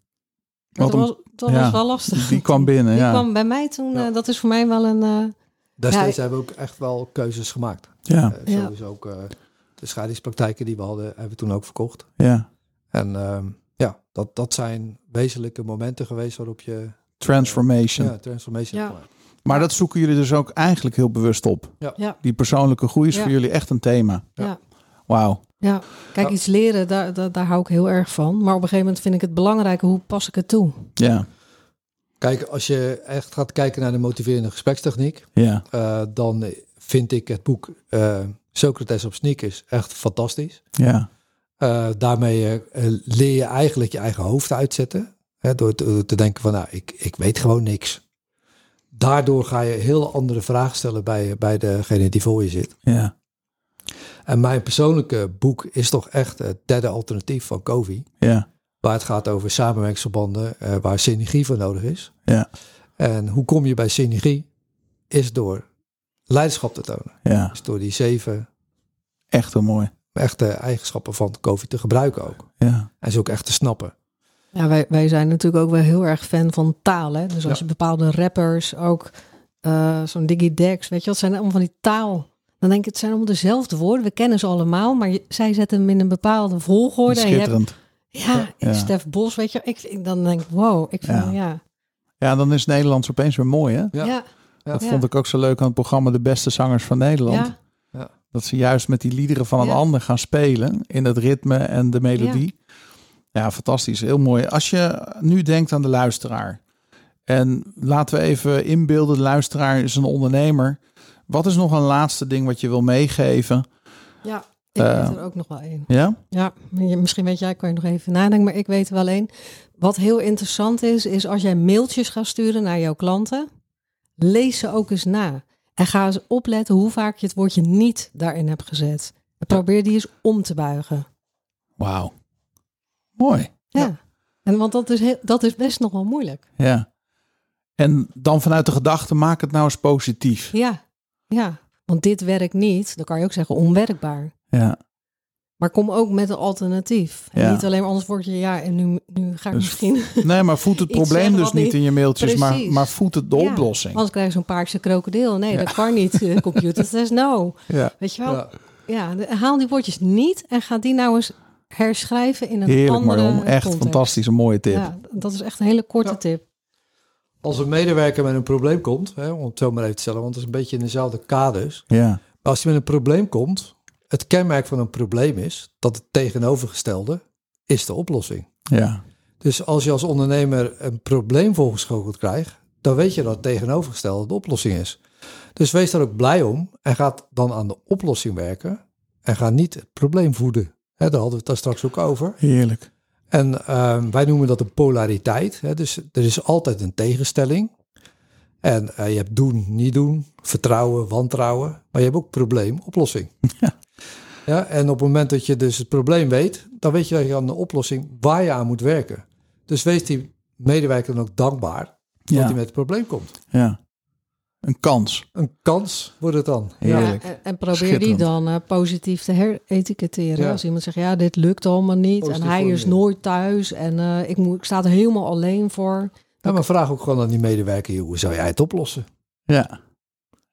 Maar Wat een- dat was, dat ja. was wel lastig. Die kwam binnen, Die ja. kwam bij mij toen, Ja. eh, dat is voor mij wel een. eh, Destijds Ja, hebben we ook echt wel keuzes gemaakt. Ja, Eh, Ja. Sowieso ook eh, de scheidingspraktijken die we hadden, hebben we toen ook verkocht. ja. En ehm, ja, dat, dat zijn wezenlijke momenten geweest waarop je Transformation. ja, transformation Ja. hebt gemaakt. Maar dat zoeken jullie dus ook eigenlijk heel bewust op. Ja. Ja. Die persoonlijke groei is Ja. voor jullie echt een thema. Ja. Wauw. Ja, kijk, Ja. iets leren, daar, daar, daar hou ik heel erg van. Maar op een gegeven moment vind ik het belangrijk, hoe pas ik het toe? Ja, Kijk, als je echt gaat kijken naar de motiverende gesprekstechniek, ja, eh, dan vind ik het boek eh, Socrates op sneakers echt fantastisch. ja, Eh, daarmee eh, eh, leer je eigenlijk je eigen hoofd uitzetten. Hè, door te, te denken van, nou, ik, ik weet gewoon niks. Daardoor ga je heel andere vragen stellen bij, bij degene die voor je zit. ja, En mijn persoonlijke boek is toch echt het derde alternatief van Covey. ja, Waar het gaat over samenwerkingsverbanden, eh, waar synergie voor nodig is. Ja. En hoe kom je bij synergie? Is door leiderschap te tonen. ja. Is door die zeven Echt heel mooi. echte eigenschappen van COVID te gebruiken ook. Ja, En ze ook echt te snappen. Ja, wij, wij zijn natuurlijk ook wel heel erg fan van taal. Hè? Dus als je Ja. bepaalde rappers, ook eh, zo'n Digidex, weet je, dat zijn allemaal van die taal. Dan denk ik, het zijn allemaal dezelfde woorden. We kennen ze allemaal, maar je- zij zetten hem in een bepaalde volgorde. En je hebt, schitterend. ja, Ja. Stef Bos, weet je, ik, ik- dan denk ik, wow. Ik vind, Ja. ja. Ja, Ja, dan is Nederlands opeens weer mooi, hè? Ja. ja, Dat Ja. vond ik ook zo leuk aan het programma De Beste Zangers van Nederland. ja, Dat ze juist met die liederen van een Ja. ander gaan spelen. In het ritme en de melodie. Ja. fantastisch. Heel mooi. Als je nu denkt aan de luisteraar. En laten we even inbeelden, de luisteraar is een ondernemer. Wat is nog een laatste ding wat je wil meegeven? ik Eh. weet er ook nog wel één. Ja? Ja, je- misschien weet jij, kan je nog even nadenken, maar ik weet er wel één. Wat heel interessant is, is als jij mailtjes gaat sturen naar jouw klanten, lees ze ook eens na. En ga eens opletten hoe vaak je het woordje niet daarin hebt gezet. En probeer die eens om te buigen. Wauw. Mooi. Ja. En want dat is, heel, dat is best nog wel moeilijk. Ja. En dan vanuit de gedachte, maak het nou eens positief. Ja, ja. Want dit werkt niet, dan kan je ook zeggen onwerkbaar. Ja. Maar kom ook met een alternatief. En Ja. niet alleen maar anders word je ja en nu, nu ga ik Dus misschien. Nee, maar voed het Iets probleem zeggen dus wat niet niet- in je mailtjes, maar, Precies. maar voed het de Ja, oplossing. Anders krijg je zo'n paarse krokodil. Nee, dat kan niet. eh, Computer says no. Ja. Weet je wel? Ja, Ja. de- haal die woordjes niet en ga die nou eens herschrijven in een Heerlijk, andere Marion. Echt context. fantastisch, een mooie tip. Ja, dat is echt een hele korte Ja. tip. Als een medewerker met een probleem komt, hè, om het zo maar even te stellen, want het is een beetje in dezelfde kaders. Ja, Maar als je met een probleem komt, het kenmerk van een probleem is dat het tegenovergestelde is de oplossing. ja, Dus als je als ondernemer een probleem voorgeschoteld krijgt, dan weet je dat het tegenovergestelde de oplossing is. Dus wees daar ook blij om en ga dan aan de oplossing werken en ga niet het probleem voeden. Hè, daar hadden we het daar straks ook over. heerlijk. En ehm, wij noemen dat een polariteit. Hè? Dus er is altijd een tegenstelling. En eh, je hebt doen, niet doen, vertrouwen, wantrouwen. Maar je hebt ook probleem, oplossing. Ja. Ja, en op het moment dat je dus het probleem weet, dan weet je dat je aan de oplossing waar je aan moet werken. Dus wees die medewerker dan ook dankbaar dat hij Ja, met het probleem komt. ja. Een kans. Een kans wordt het dan. Heerlijk. Ja, en, en probeer die Schitterend. dan eh, positief te heretiketteren. Ja. Als iemand zegt, ja, dit lukt allemaal niet. Positief en hij is formuleren. nooit thuis. En eh, ik, moet, ik sta er helemaal alleen voor. Ja, maar vraag ook gewoon aan die medewerker, joh, hoe zou jij het oplossen? Ja,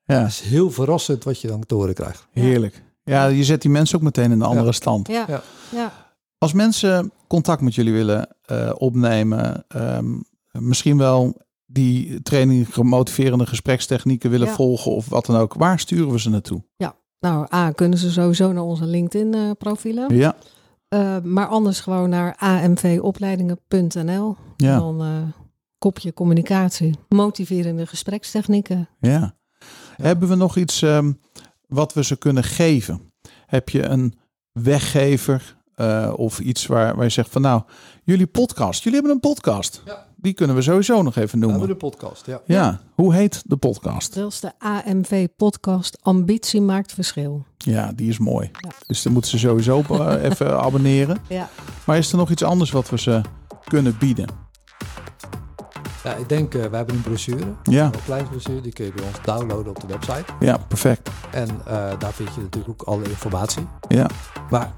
ja, Het is heel verrassend wat je dan te horen krijgt. heerlijk. Ja, je zet die mensen ook meteen in een andere stand. Ja, Ja. ja. Als mensen contact met jullie willen eh, opnemen, ehm, misschien wel die training motiverende gesprekstechnieken willen Ja. volgen of wat dan ook, waar sturen we ze naartoe? Nou, A, kunnen ze sowieso naar onze LinkedIn-profielen. Ja, Eh, maar anders gewoon naar amvopleidingen.nl. En ja, Dan eh, kopje communicatie, motiverende gesprekstechnieken. ja. Hebben we nog iets ehm, wat we ze kunnen geven? Heb je een weggever eh, of iets waar, waar je zegt van nou, jullie podcast, jullie hebben een podcast. Die kunnen we sowieso nog even We hebben noemen. de podcast, ja. Ja, hoe heet de podcast? Dat is de AMV-podcast Ambitie maakt verschil. Ja, die is mooi. Ja. Dus dan moeten ze sowieso op, eh, even abonneren. Ja. Maar is er nog iets anders wat we ze kunnen bieden? Ja, ik denk, eh, we hebben een brochure. Ja, Een kleine brochure, die kun je bij ons downloaden op de website. ja perfect. En eh, daar vind je natuurlijk ook alle informatie. Ja, Maar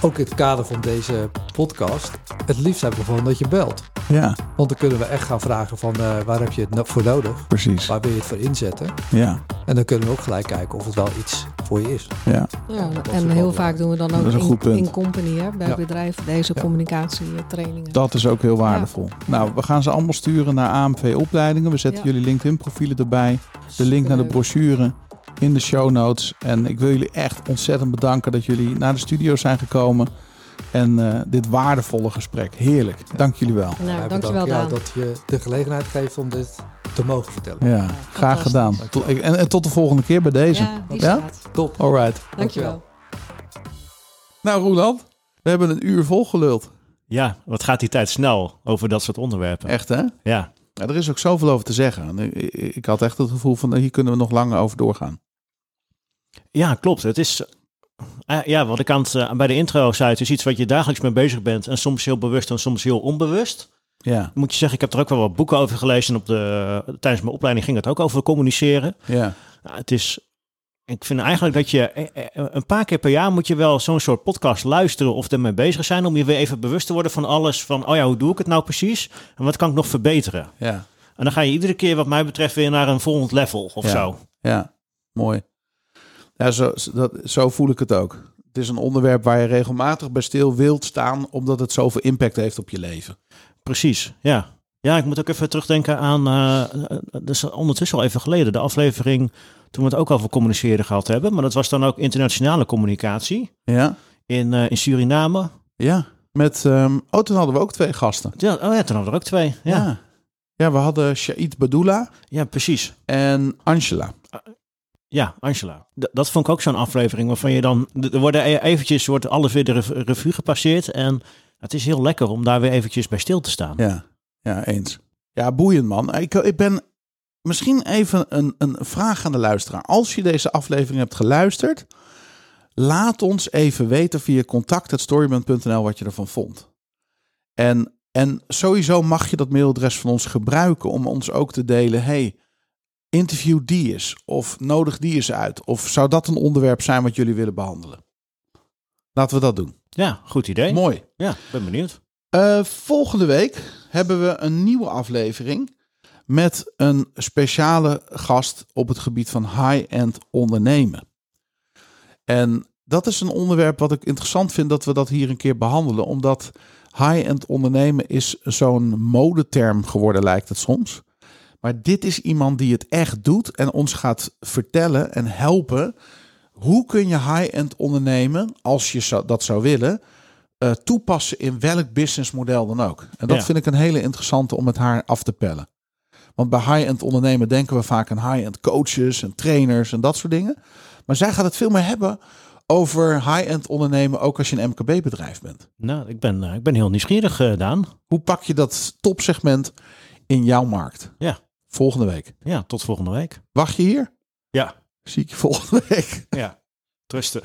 ook in het kader van deze podcast, het liefst hebben we gewoon dat je belt. ja, Want dan kunnen we echt gaan vragen van eh, waar heb je het no- voor nodig? precies. Waar wil je het voor inzetten? Ja, En dan kunnen we ook gelijk kijken of het wel iets voor je is. ja, Ja, dat is en wel heel belangrijk. vaak doen we dan Dat ook is een goed in, punt. in company hè, bij Ja. bedrijven deze eh, Ja. communicatietrainingen. dat is ook heel waardevol. Nou, we gaan ze allemaal sturen naar AMV-opleidingen. We zetten Ja. jullie LinkedIn-profielen erbij. De link naar de Superleuk. brochure in de show notes. En ik wil jullie echt ontzettend bedanken dat jullie naar de studio zijn gekomen. En eh, dit waardevolle gesprek. Heerlijk. Dank jullie wel. Wij Nou, bedanken dankjewel Daan. jou dat je de gelegenheid geeft om dit te mogen vertellen. Ja, graag fantastisch. gedaan. Tot- En, en tot de volgende keer bij deze. Ja, die Ja? staat. Top. Alright. Dankjewel. Nou, Roland, we hebben een uur vol geluld. Ja, wat gaat die tijd snel over dat soort onderwerpen? Echt, hè? Ja, Ja, er is ook zoveel over te zeggen. En ik- ik- Ik had echt het gevoel van, nou, hier kunnen we nog langer over doorgaan. ja klopt. Het is, eh, ja, wat ik aan het, eh, bij de intro zei, het is iets wat je dagelijks mee bezig bent. En soms heel bewust en soms heel onbewust. Ja, moet je zeggen, ik heb er ook wel wat boeken over gelezen. Op de, tijdens mijn opleiding ging het ook over communiceren. ja, Nou, het is, ik vind eigenlijk dat je eh, eh, een paar keer per jaar moet je wel zo'n soort podcast luisteren of ermee bezig zijn. Om je weer even bewust te worden van alles. Van, oh ja, hoe doe ik het nou precies? En wat kan ik nog verbeteren? ja, En dan ga je iedere keer, wat mij betreft, weer naar een volgend level of Ja. zo. ja. Mooi. Ja, zo, zo- dat, zo voel ik het ook. Het is een onderwerp waar je regelmatig bij stil wilt staan, omdat het zoveel impact heeft op je leven. Precies, ja. Ja, ik moet ook even terugdenken aan, eh, eh, dat is ondertussen al even geleden, de aflevering toen we het ook over communiceren gehad hebben. Maar dat was dan ook internationale communicatie. Ja, in, eh, in Suriname. ja. Met, ehm oh, toen hadden we ook twee gasten. Ja, oh ja, toen hadden we er ook twee. Ja, ja. ja. Ja, we hadden Shahid Badoula precies. en Angela. Ja, Angela. D- dat vond ik ook zo'n aflevering waarvan je dan... d- Er worden e- eventjes wordt alles weer de rev- revue gepasseerd. En het is heel lekker om daar weer eventjes bij stil te staan. Ja, ja, eens. Ja, boeiend man. Ik, ik ben misschien even een, een vraag aan de luisteraar. Als je deze aflevering hebt geluisterd, laat ons even weten via contact.storyband.nl wat je ervan vond. En, en sowieso mag je dat mailadres van ons gebruiken om ons ook te delen. Hey, interview die eens of nodig die eens uit. Of zou dat een onderwerp zijn wat jullie willen behandelen? Laten we dat doen. Ja, goed idee. Mooi. Ja, ik ben benieuwd. Eh, volgende week hebben we een nieuwe aflevering met een speciale gast op het gebied van high-end ondernemen. En dat is een onderwerp wat ik interessant vind dat we dat hier een keer behandelen, omdat high-end ondernemen is zo'n modeterm geworden lijkt het soms. Maar dit is iemand die het echt doet en ons gaat vertellen en helpen hoe kun je high-end ondernemen als je zo- dat zou willen eh, toepassen in welk businessmodel dan ook. En dat Ja. vind ik een hele interessante om met haar af te pellen. Want bij high-end ondernemen denken we vaak aan high-end coaches en trainers en dat soort dingen. Maar zij gaat het veel meer hebben over high-end ondernemen, ook als je een MKB-bedrijf bent. Nou, ik ben, eh, ik ben heel nieuwsgierig, eh, Daan. Hoe pak je dat topsegment in jouw markt? Ja. Volgende week. Ja, tot volgende week. Wacht je hier? Ja. Zie ik je volgende week. Ja, trusten.